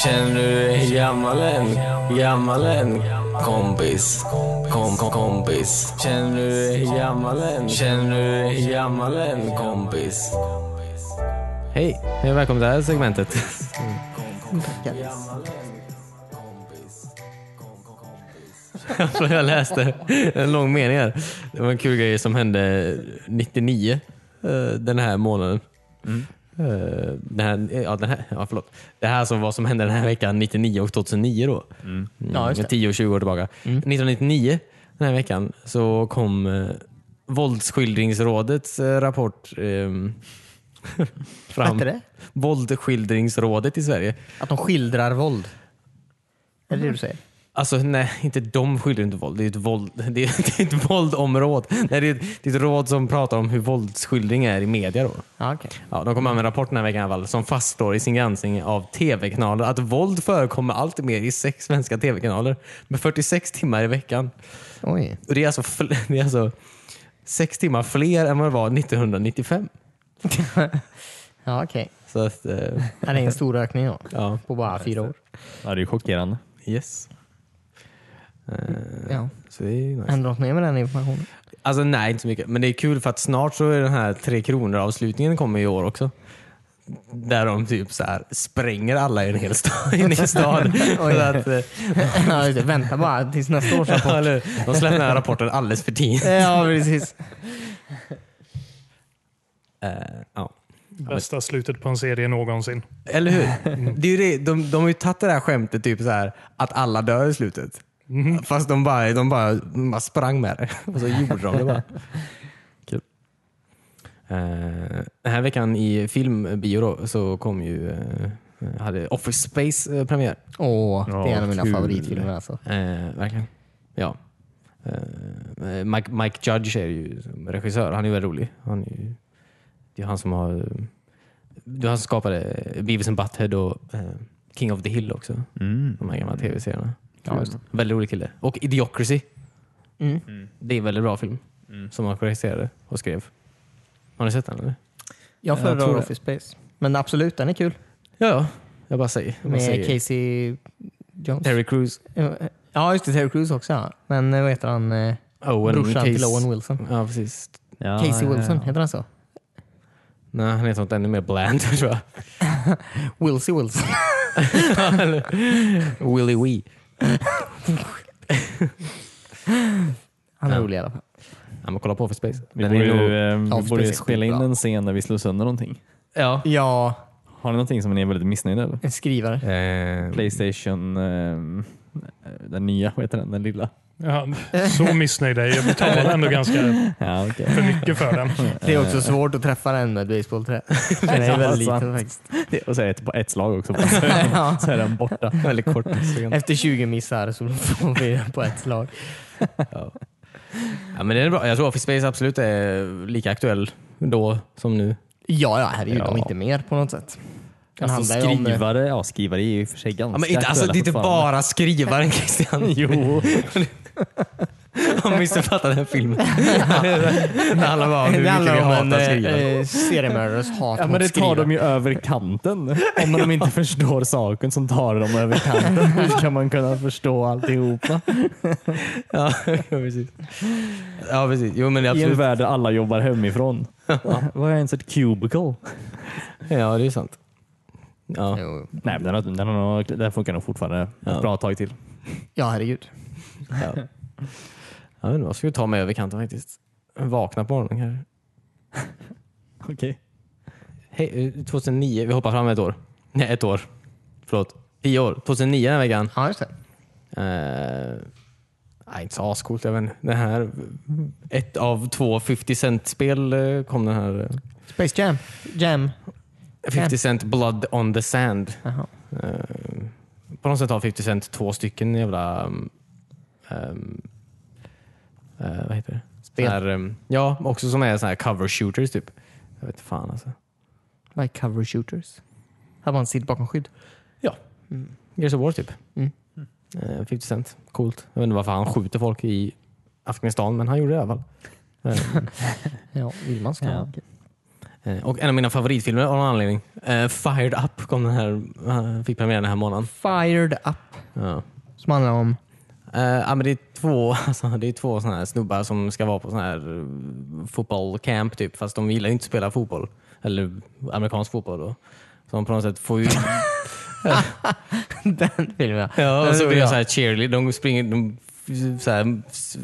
Speaker 1: Känner du dig gammal än? Gammal än? Kompis. Kom, kom, kompis. Känner du dig gammal än? Känner du dig gammal än? Kompis. Hej. Hej och välkommen till det här segmentet. [LAUGHS] Så jag läste en lång mening här. Det var en kul grej som hände 99 eh, den här månaden. Eh, Den här, ja, den här, ja, förlåt. Det här som vad som hände den här veckan 99 och 2009 då. Mm.
Speaker 2: Ja, just det.
Speaker 1: 10 och 20 år tillbaka. 1999 den här veckan så kom eh, Våldsskildringsrådets eh, rapport ehm, [LAUGHS]
Speaker 2: Vad
Speaker 1: fram.
Speaker 2: hette det?
Speaker 1: Våldsskildringsrådet i Sverige.
Speaker 2: Att de skildrar våld? Är det det du säger?
Speaker 1: Alltså nej, inte de skildrar inte våld. Det är ett våld, [LAUGHS] det är, det är ett våldområde. Nej, det, är, det är ett råd som pratar om hur våldsskildring är i media. Då.
Speaker 2: Ja, okej.
Speaker 1: Ja, de kom med en rapport den här veckan i alla fall, som fastslår i sin granskning av tv-kanaler att våld förekommer allt mer i sex svenska tv-kanaler med 46 timmar i veckan.
Speaker 2: Oj.
Speaker 1: Och det, är alltså, fl- [LAUGHS] det är alltså sex timmar fler än vad det var 1995.
Speaker 2: Ja, okej.
Speaker 1: Så att, eh,
Speaker 2: Ja, Det är en stor ökning då.
Speaker 1: ja,
Speaker 2: På bara fyra år.
Speaker 3: Ja, det är ju chockerande.
Speaker 1: yes. Eh,
Speaker 2: Ja.
Speaker 1: så det är ju nice.
Speaker 2: Händer något mer med den informationen?
Speaker 1: Alltså nej, inte så mycket. Men det är kul för att snart så är den här Tre Kronor-avslutningen kommer i år också. Där de typ så här spränger alla i en hel stad. [LAUGHS] I en hel stad.
Speaker 2: [LAUGHS] Oj.
Speaker 1: För att, eh,
Speaker 2: Ja, just det. Vänta bara tills nästa års rapport.
Speaker 1: ja, eller hur? de släpper den här rapporten alldeles för tidigt.
Speaker 2: Ja, precis.
Speaker 1: [LAUGHS] Eh, ja.
Speaker 4: Bästa slutet på en serie någonsin.
Speaker 1: Eller hur? Det är ju det, de, de har ju tagit det där skämtet typ så här, att alla dör i slutet. Fast de bara, de, bara, de bara sprang med det. Mm. [LAUGHS] Och så gjorde de det bara. Kul. Eh, den här veckan i filmbio då, så kom ju eh, hade Office Space eh, premiär.
Speaker 2: Åh, det är en av mina
Speaker 3: kul.
Speaker 2: favoritfilmer alltså.
Speaker 1: Eh, verkligen. Ja. Eh, Mike, Mike Judge är ju som regissör. Han är ju väldigt rolig. Han är ju, det är han som har det är han som skapade Beavis and Butthead och eh, King of the Hill också.
Speaker 3: Mm.
Speaker 1: De här gamla tv-serierna. Väldigt rolig kille. Och Idiocracy.
Speaker 2: Mm.
Speaker 1: Det är en väldigt bra film som han regisserade och skrev. Har ni sett den eller?
Speaker 2: Jag
Speaker 3: tror
Speaker 2: föredrar
Speaker 3: det.
Speaker 2: Office Space. Men absolut, den är kul.
Speaker 1: Ja, ja. Jag bara säger. Jag bara
Speaker 2: Med
Speaker 1: säger.
Speaker 2: Casey Jones.
Speaker 1: Terry Crews.
Speaker 2: Ja, just det. Terry Crews också. ja. Men eh, vad heter han? eh,
Speaker 1: Owen.
Speaker 2: Brorsan till
Speaker 1: Case-
Speaker 2: Owen Wilson.
Speaker 1: Ja, precis.
Speaker 3: Ah, Ja, eh,
Speaker 2: Casey Wilson,
Speaker 3: Ja,
Speaker 2: heter han så?
Speaker 1: Nej, han heter något ännu mer bland [LAUGHS] tror jag.
Speaker 2: Wilsey Wilson.
Speaker 1: [LAUGHS] Willy Wee.
Speaker 2: Han är
Speaker 1: Ja.
Speaker 2: rolig i alla fall.
Speaker 1: Ja, men kolla på Office Space.
Speaker 3: Vi
Speaker 1: Den
Speaker 3: borde,
Speaker 1: är nog-
Speaker 3: ju, eh, vi
Speaker 2: Office
Speaker 3: borde ju
Speaker 2: är
Speaker 3: spela in
Speaker 2: skitbra.
Speaker 3: en scen där vi slår sönder någonting.
Speaker 1: Ja.
Speaker 2: Ja,
Speaker 3: Har ni någonting som ni är väldigt missnöjda över?
Speaker 2: en skrivare.
Speaker 1: Eh,
Speaker 3: Playstation, ehm, den nya, vad heter den? Den lilla?
Speaker 4: Ja, så missnöjd är jag. Jag betalar ändå ganska
Speaker 3: [LAUGHS] Ja, okej.
Speaker 4: för mycket för den.
Speaker 2: Det är också svårt att träffa den med ett basebollträ. Den [LAUGHS] är väldigt
Speaker 3: sant.
Speaker 2: liten faktiskt.
Speaker 3: Det- [LAUGHS] Och så är det ett, på ett slag [LAUGHS] också. Så är den-
Speaker 2: Ja.
Speaker 3: så är den borta.
Speaker 1: väldigt kort. [LAUGHS] ja,
Speaker 2: Efter 20 missar så får vi den på ett slag.
Speaker 1: men det är bra. Jag tror Office Space absolut är lika aktuell då som nu.
Speaker 2: Ja, ja, herregud.
Speaker 3: Ja.
Speaker 2: Om inte mer på något sätt. Den
Speaker 3: Alltså,
Speaker 2: handlar ju om... eh,
Speaker 3: skrivare, ja skrivare är ju i och för sig ganska
Speaker 1: Ja, men inte, alltså,
Speaker 3: aktuella
Speaker 1: det är inte [LAUGHS]
Speaker 3: fortfarande.
Speaker 1: bara skrivaren Christian.
Speaker 3: Jo.
Speaker 1: Han missuppfattade den filmen. [LAUGHS] det handlar bara om hur
Speaker 2: [LAUGHS] Det
Speaker 1: mycket vi
Speaker 2: handlar om en
Speaker 1: hatar
Speaker 2: eh,
Speaker 1: skrivandet.
Speaker 2: eh, seriemördares hat
Speaker 3: [LAUGHS] Ja,
Speaker 2: mot
Speaker 3: men det tar
Speaker 2: skrivandet.
Speaker 3: de ju över kanten. Om
Speaker 2: [LAUGHS]
Speaker 3: de inte [LAUGHS] förstår saken som tar de över kanten. Hur ska man kunna förstå alltihopa?
Speaker 1: Ja, [LAUGHS] precis. Ja, precis. Jo, men det är
Speaker 3: I en
Speaker 1: absolut.
Speaker 3: värld där alla jobbar hemifrån. Vad är ens ett cubicle?
Speaker 1: Ja, det är sant. Ja.
Speaker 2: Jo.
Speaker 3: Nej, men den, har, den, har, nog- den funkar nog fortfarande
Speaker 1: Ja.
Speaker 3: ett bra tag till.
Speaker 2: Ja, herregud.
Speaker 1: Ja. Jag vet inte, vad ska vi ta med över kanten faktiskt? Vakna på morgonen kanske.
Speaker 3: Okej.
Speaker 1: Hej, eh, 2009, vi hoppar fram ett år. Nej, ett år. Förlåt. Tio år. 2009 den här veckan.
Speaker 2: Ja, just det.
Speaker 1: Eh, nej, inte så ascoolt. Jag vet inte. Den här, ett av två 50 Cent-spel eh, kom den här. eh,
Speaker 2: Space Jam. Jam.
Speaker 1: 50 Cent Blood on the Sand.
Speaker 2: Jaha.
Speaker 1: Eh, på något sätt har 50 Cent två stycken jävla... Um, um, eh, vad heter det?
Speaker 2: Spel.
Speaker 1: Sån Här, um, ja, också som är såna här cover shooters typ. Jag vet inte fan alltså.
Speaker 2: Like cover shooters. Här var en sitt bakom skydd.
Speaker 1: Gears of War typ.
Speaker 2: Mm.
Speaker 1: Eh, 50 Cent. Coolt. Jag vet inte varför han skjuter folk i Afghanistan, men han gjorde det i alla fall. Eh,
Speaker 2: Ja, vill man ska
Speaker 3: Ja.
Speaker 2: man.
Speaker 1: eh, och en av mina favoritfilmer av någon anledning. Eh, Fired Up kom den här, eh, fick premiär den här månaden.
Speaker 2: Fired Up.
Speaker 1: Ja.
Speaker 2: Som handlar
Speaker 3: [LAUGHS]
Speaker 2: om...
Speaker 1: Eh, ja, men det är två, [LAUGHS] alltså, det är två såna här snubbar som ska vara på sån här eh, fotbollcamp typ, fast de gillar ju inte att spela fotboll. Eller amerikansk fotboll då. Så de på något sätt får [LAUGHS] ju...
Speaker 2: Den filmen.
Speaker 1: ja, och så blir de
Speaker 2: jag.
Speaker 1: så här cheerlead. De springer... De, så här, s-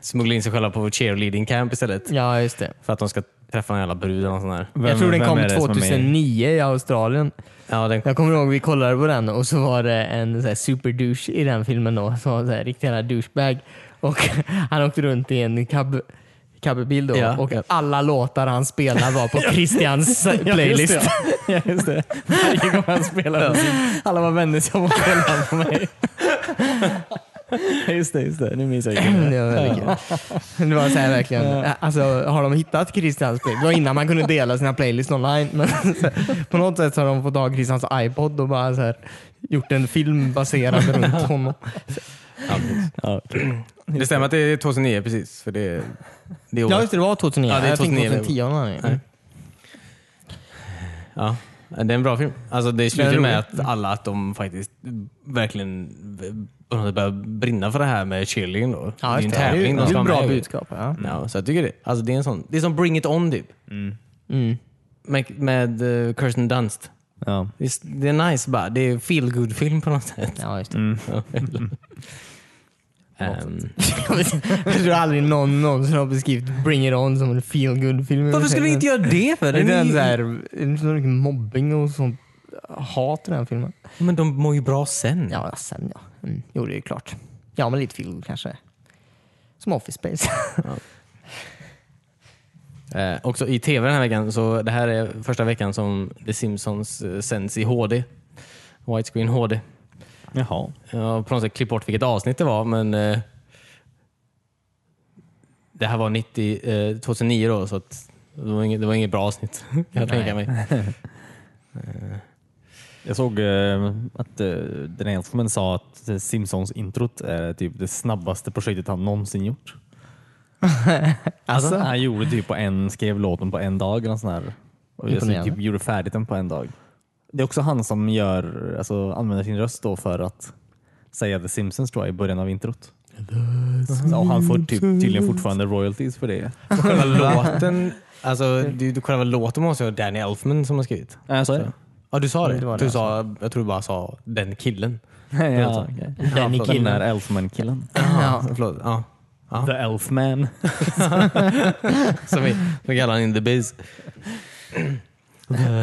Speaker 1: smugglar in sig själva på cheerleading camp istället.
Speaker 2: Ja, just det.
Speaker 1: För att de ska träffa en jävla brud eller något sånt där.
Speaker 3: Vem-
Speaker 2: jag tror den
Speaker 3: vem är det
Speaker 2: kom
Speaker 3: som är med i-
Speaker 2: 2009 i Australien.
Speaker 1: Ja, den,
Speaker 2: Jag kommer ihåg vi kollade på den och så var det en så här superdouche i den filmen då, som var en så här riktig jävla douchebag. Och [LAUGHS] han åkte runt i en cab cabbil då
Speaker 1: Ja,
Speaker 2: och
Speaker 1: ja.
Speaker 2: alla låtar han spelade [LAUGHS] var på Christians playlist.
Speaker 3: [LAUGHS]
Speaker 2: [LAUGHS]
Speaker 3: Ja, just det. Varje gång han spelade musik. Alla var vänner som kollade på mig. Just det, just det. Nu minns jag vilken det är.
Speaker 2: [CLEARS THROAT] Det var väldigt kul. Det var så här verkligen, alltså, har de hittat Christians playlist? Det var innan man kunde dela sina playlists online. Men [LAUGHS] så här, på något sätt så har de fått tag i Christians iPod och bara så här, gjort en film baserad runt honom.
Speaker 1: ja, precis.
Speaker 3: Ja,
Speaker 1: det stämmer att det är 2009 precis. För det, det är
Speaker 2: Ja
Speaker 1: året.
Speaker 2: just det, det var 2009.
Speaker 1: Ja, det är
Speaker 2: jag tänkte
Speaker 1: 2009.
Speaker 2: 2010 av någon anledning.
Speaker 1: Nej. Ja, det är en bra film. Alltså det
Speaker 2: Den
Speaker 1: slutar
Speaker 2: är
Speaker 1: med
Speaker 2: rolig.
Speaker 1: att alla att de faktiskt verkligen på något sätt börjar brinna för det här med cheerleading. Då. det är ju en tävling de
Speaker 2: Det är
Speaker 1: ska
Speaker 2: ett
Speaker 1: vara
Speaker 2: bra
Speaker 1: med i.
Speaker 2: budskap. Ja.
Speaker 1: Ja, så jag tycker det. Alltså det är en sån, det är som Bring It On typ. Mm. Med, med eh, Kirsten Dunst.
Speaker 3: ja.
Speaker 1: Det är, det är nice bara. Det är feel good film på något sätt.
Speaker 2: Ja, just det.
Speaker 1: Ehm,
Speaker 2: [LAUGHS] jag tror aldrig någon någonsin har beskrivit Bring It On som en feel good film
Speaker 1: varför skulle vi inte göra det för?
Speaker 2: det? Är
Speaker 1: Den
Speaker 2: det
Speaker 1: är
Speaker 2: en
Speaker 1: ju-
Speaker 2: så här, är det så mycket mobbing och sånt hat i den här filmen?
Speaker 1: Men de mår ju bra sen.
Speaker 2: Ja, ja, sen ja. Mm. Jo, det är ju klart. Ja, men lite feel good kanske. Som Office Space.
Speaker 1: Eh, också i tv den här veckan, så det här är första veckan som The Simpsons eh, sänds i HD. Widescreen HD.
Speaker 3: Jaha.
Speaker 1: Jag har på något sätt klippt bort vilket avsnitt det var, men eh, det här var 90, eh, 2009 då, så att det, var inget, det var inget bra avsnitt [LAUGHS] kan jag tänka mig.
Speaker 3: Jag såg eh, att eh, den Elfman sa att eh, Simpsons-introt är typ det snabbaste projektet han någonsin gjort. alltså? Han gjorde typ på en, skrev låten på en dag. Eller något sånt här. Och jag
Speaker 2: Imponerande.
Speaker 3: typ gjorde färdigt den på en dag. Det är också han som gör, alltså, använder sin röst då för att säga The Simpsons tror jag, i början av introt. Så, och han får typ, tydligen fortfarande royalties för det.
Speaker 1: [LAUGHS] [LAUGHS] Själva låten, alltså, du, du, själva låten måste ju vara Danny Elfman som har skrivit.
Speaker 3: Äh, så är
Speaker 1: det. Ja, du sa det. alltså.
Speaker 2: det var det
Speaker 1: du sa, jag tror du bara sa den killen.
Speaker 3: ja, okay.
Speaker 2: Den är
Speaker 3: Den
Speaker 2: killen.
Speaker 3: där Elfman-killen.
Speaker 2: Ja.
Speaker 1: Förlåt. Ja.
Speaker 3: The Elfman.
Speaker 1: Som vi som kallar han in the biz.
Speaker 3: [LAUGHS]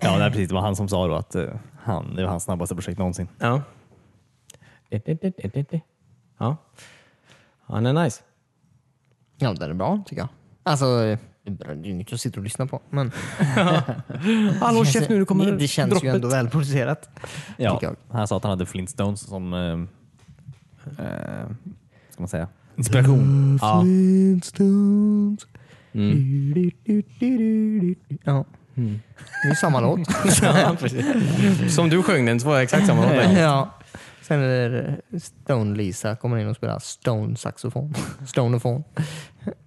Speaker 3: Ja, det är precis. Det var han som sa då att eh, han, det var hans snabbaste projekt någonsin.
Speaker 1: Ja. Eh, Ja. Han är [LAUGHS] nice.
Speaker 2: Ja, den är bra tycker jag. Alltså, det är bra- det är inget jag sitter och lyssnar på. Men
Speaker 1: [LAUGHS] Hallå
Speaker 2: Det känns-
Speaker 1: chef nu, det kommer
Speaker 2: Det känns ju ändå välproducerat.
Speaker 3: Ja,
Speaker 2: Tycker jag.
Speaker 3: han sa att han hade Flintstones som eh, eh, ska man säga? inspiration.
Speaker 1: Ja.
Speaker 2: Mm. Ja. Mm. Det är samma låt.
Speaker 1: Som du sjöng den så var det exakt samma låt.
Speaker 2: [LAUGHS] ja. Sen är det Stone-Lisa kommer in och spelar [LAUGHS] Stone-saxofon. Stonofon.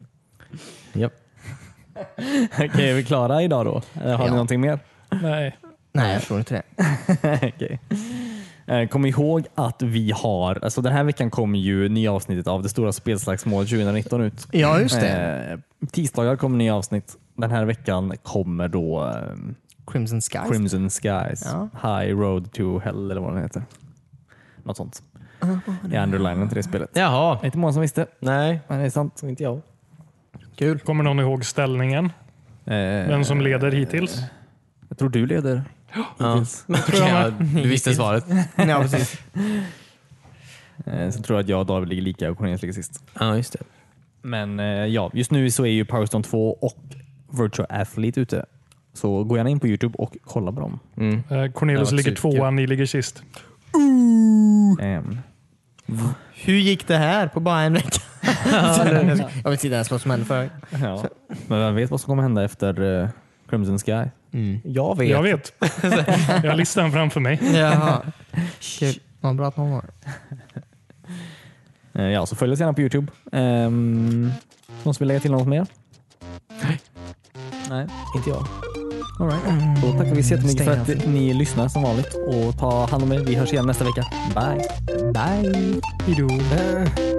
Speaker 1: [LAUGHS] Japp.
Speaker 3: Okej, är vi klara idag då? Eh, Har
Speaker 2: Ja.
Speaker 3: ni någonting mer? [LAUGHS]
Speaker 4: Nej.
Speaker 2: Nej, jag tror inte det.
Speaker 3: Okej. Eh, Kom ihåg att vi har, alltså den här veckan kommer ju nya avsnittet av Det stora spelslagsmålet 2019 ut.
Speaker 2: Ja, just det.
Speaker 3: Eh, Tisdagar kommer nya avsnitt. Den här veckan kommer då ehm,
Speaker 2: Crimson Skies.
Speaker 3: Crimson Skies,
Speaker 2: Ja.
Speaker 3: High Road to Hell eller vad den heter. Något sånt. I underlinen till det spelet.
Speaker 1: Jaha.
Speaker 3: Inte många som visste,
Speaker 1: Nej,
Speaker 3: men det är sant.
Speaker 1: inte jag.
Speaker 2: Kul.
Speaker 4: Kommer någon ihåg ställningen?
Speaker 3: Eh,
Speaker 4: Vem som leder hittills?
Speaker 3: Jag tror du leder.
Speaker 1: Ja.
Speaker 3: hittills.
Speaker 1: Men,
Speaker 4: tror
Speaker 1: [LAUGHS]
Speaker 4: jag
Speaker 1: ja, du visste svaret.
Speaker 2: [LAUGHS] Ja, precis.
Speaker 3: Eh, Sen tror jag att jag och David ligger lika och Cornelius ligger sist.
Speaker 1: Ja, just det.
Speaker 3: Men eh, ja, just nu så är ju Powerstone 2 och Virtual Athlete ute. Så gå gärna in på Youtube och kolla på dem.
Speaker 1: Mm.
Speaker 4: Eh,
Speaker 1: Det
Speaker 4: Cornelius
Speaker 1: var
Speaker 4: ligger
Speaker 1: typ-
Speaker 4: tvåa, ni ligger sist.
Speaker 3: Ehm,
Speaker 2: Hur gick det här på bara en vecka? jag vet inte ens vad som hände förra veckan.
Speaker 3: ja. Men vem vet vad som kommer hända efter eh, Crimson Sky?
Speaker 1: Jag vet.
Speaker 4: Jag [LAUGHS] vet. Jag har listan framför mig.
Speaker 2: Jaha. Kul. Vad bra att någon var.
Speaker 3: Eh, ja, så följ oss gärna på Youtube. Ehm, någon som vill lägga till något mer? [GASPS] Nej.
Speaker 1: Inte jag.
Speaker 3: All right. Då tackar vi så jättemycket för
Speaker 2: Stäng
Speaker 3: att ni lyssnar som vanligt och ta hand om er. Vi hörs igen nästa vecka. Bye!
Speaker 2: Bye.
Speaker 4: Hejdå.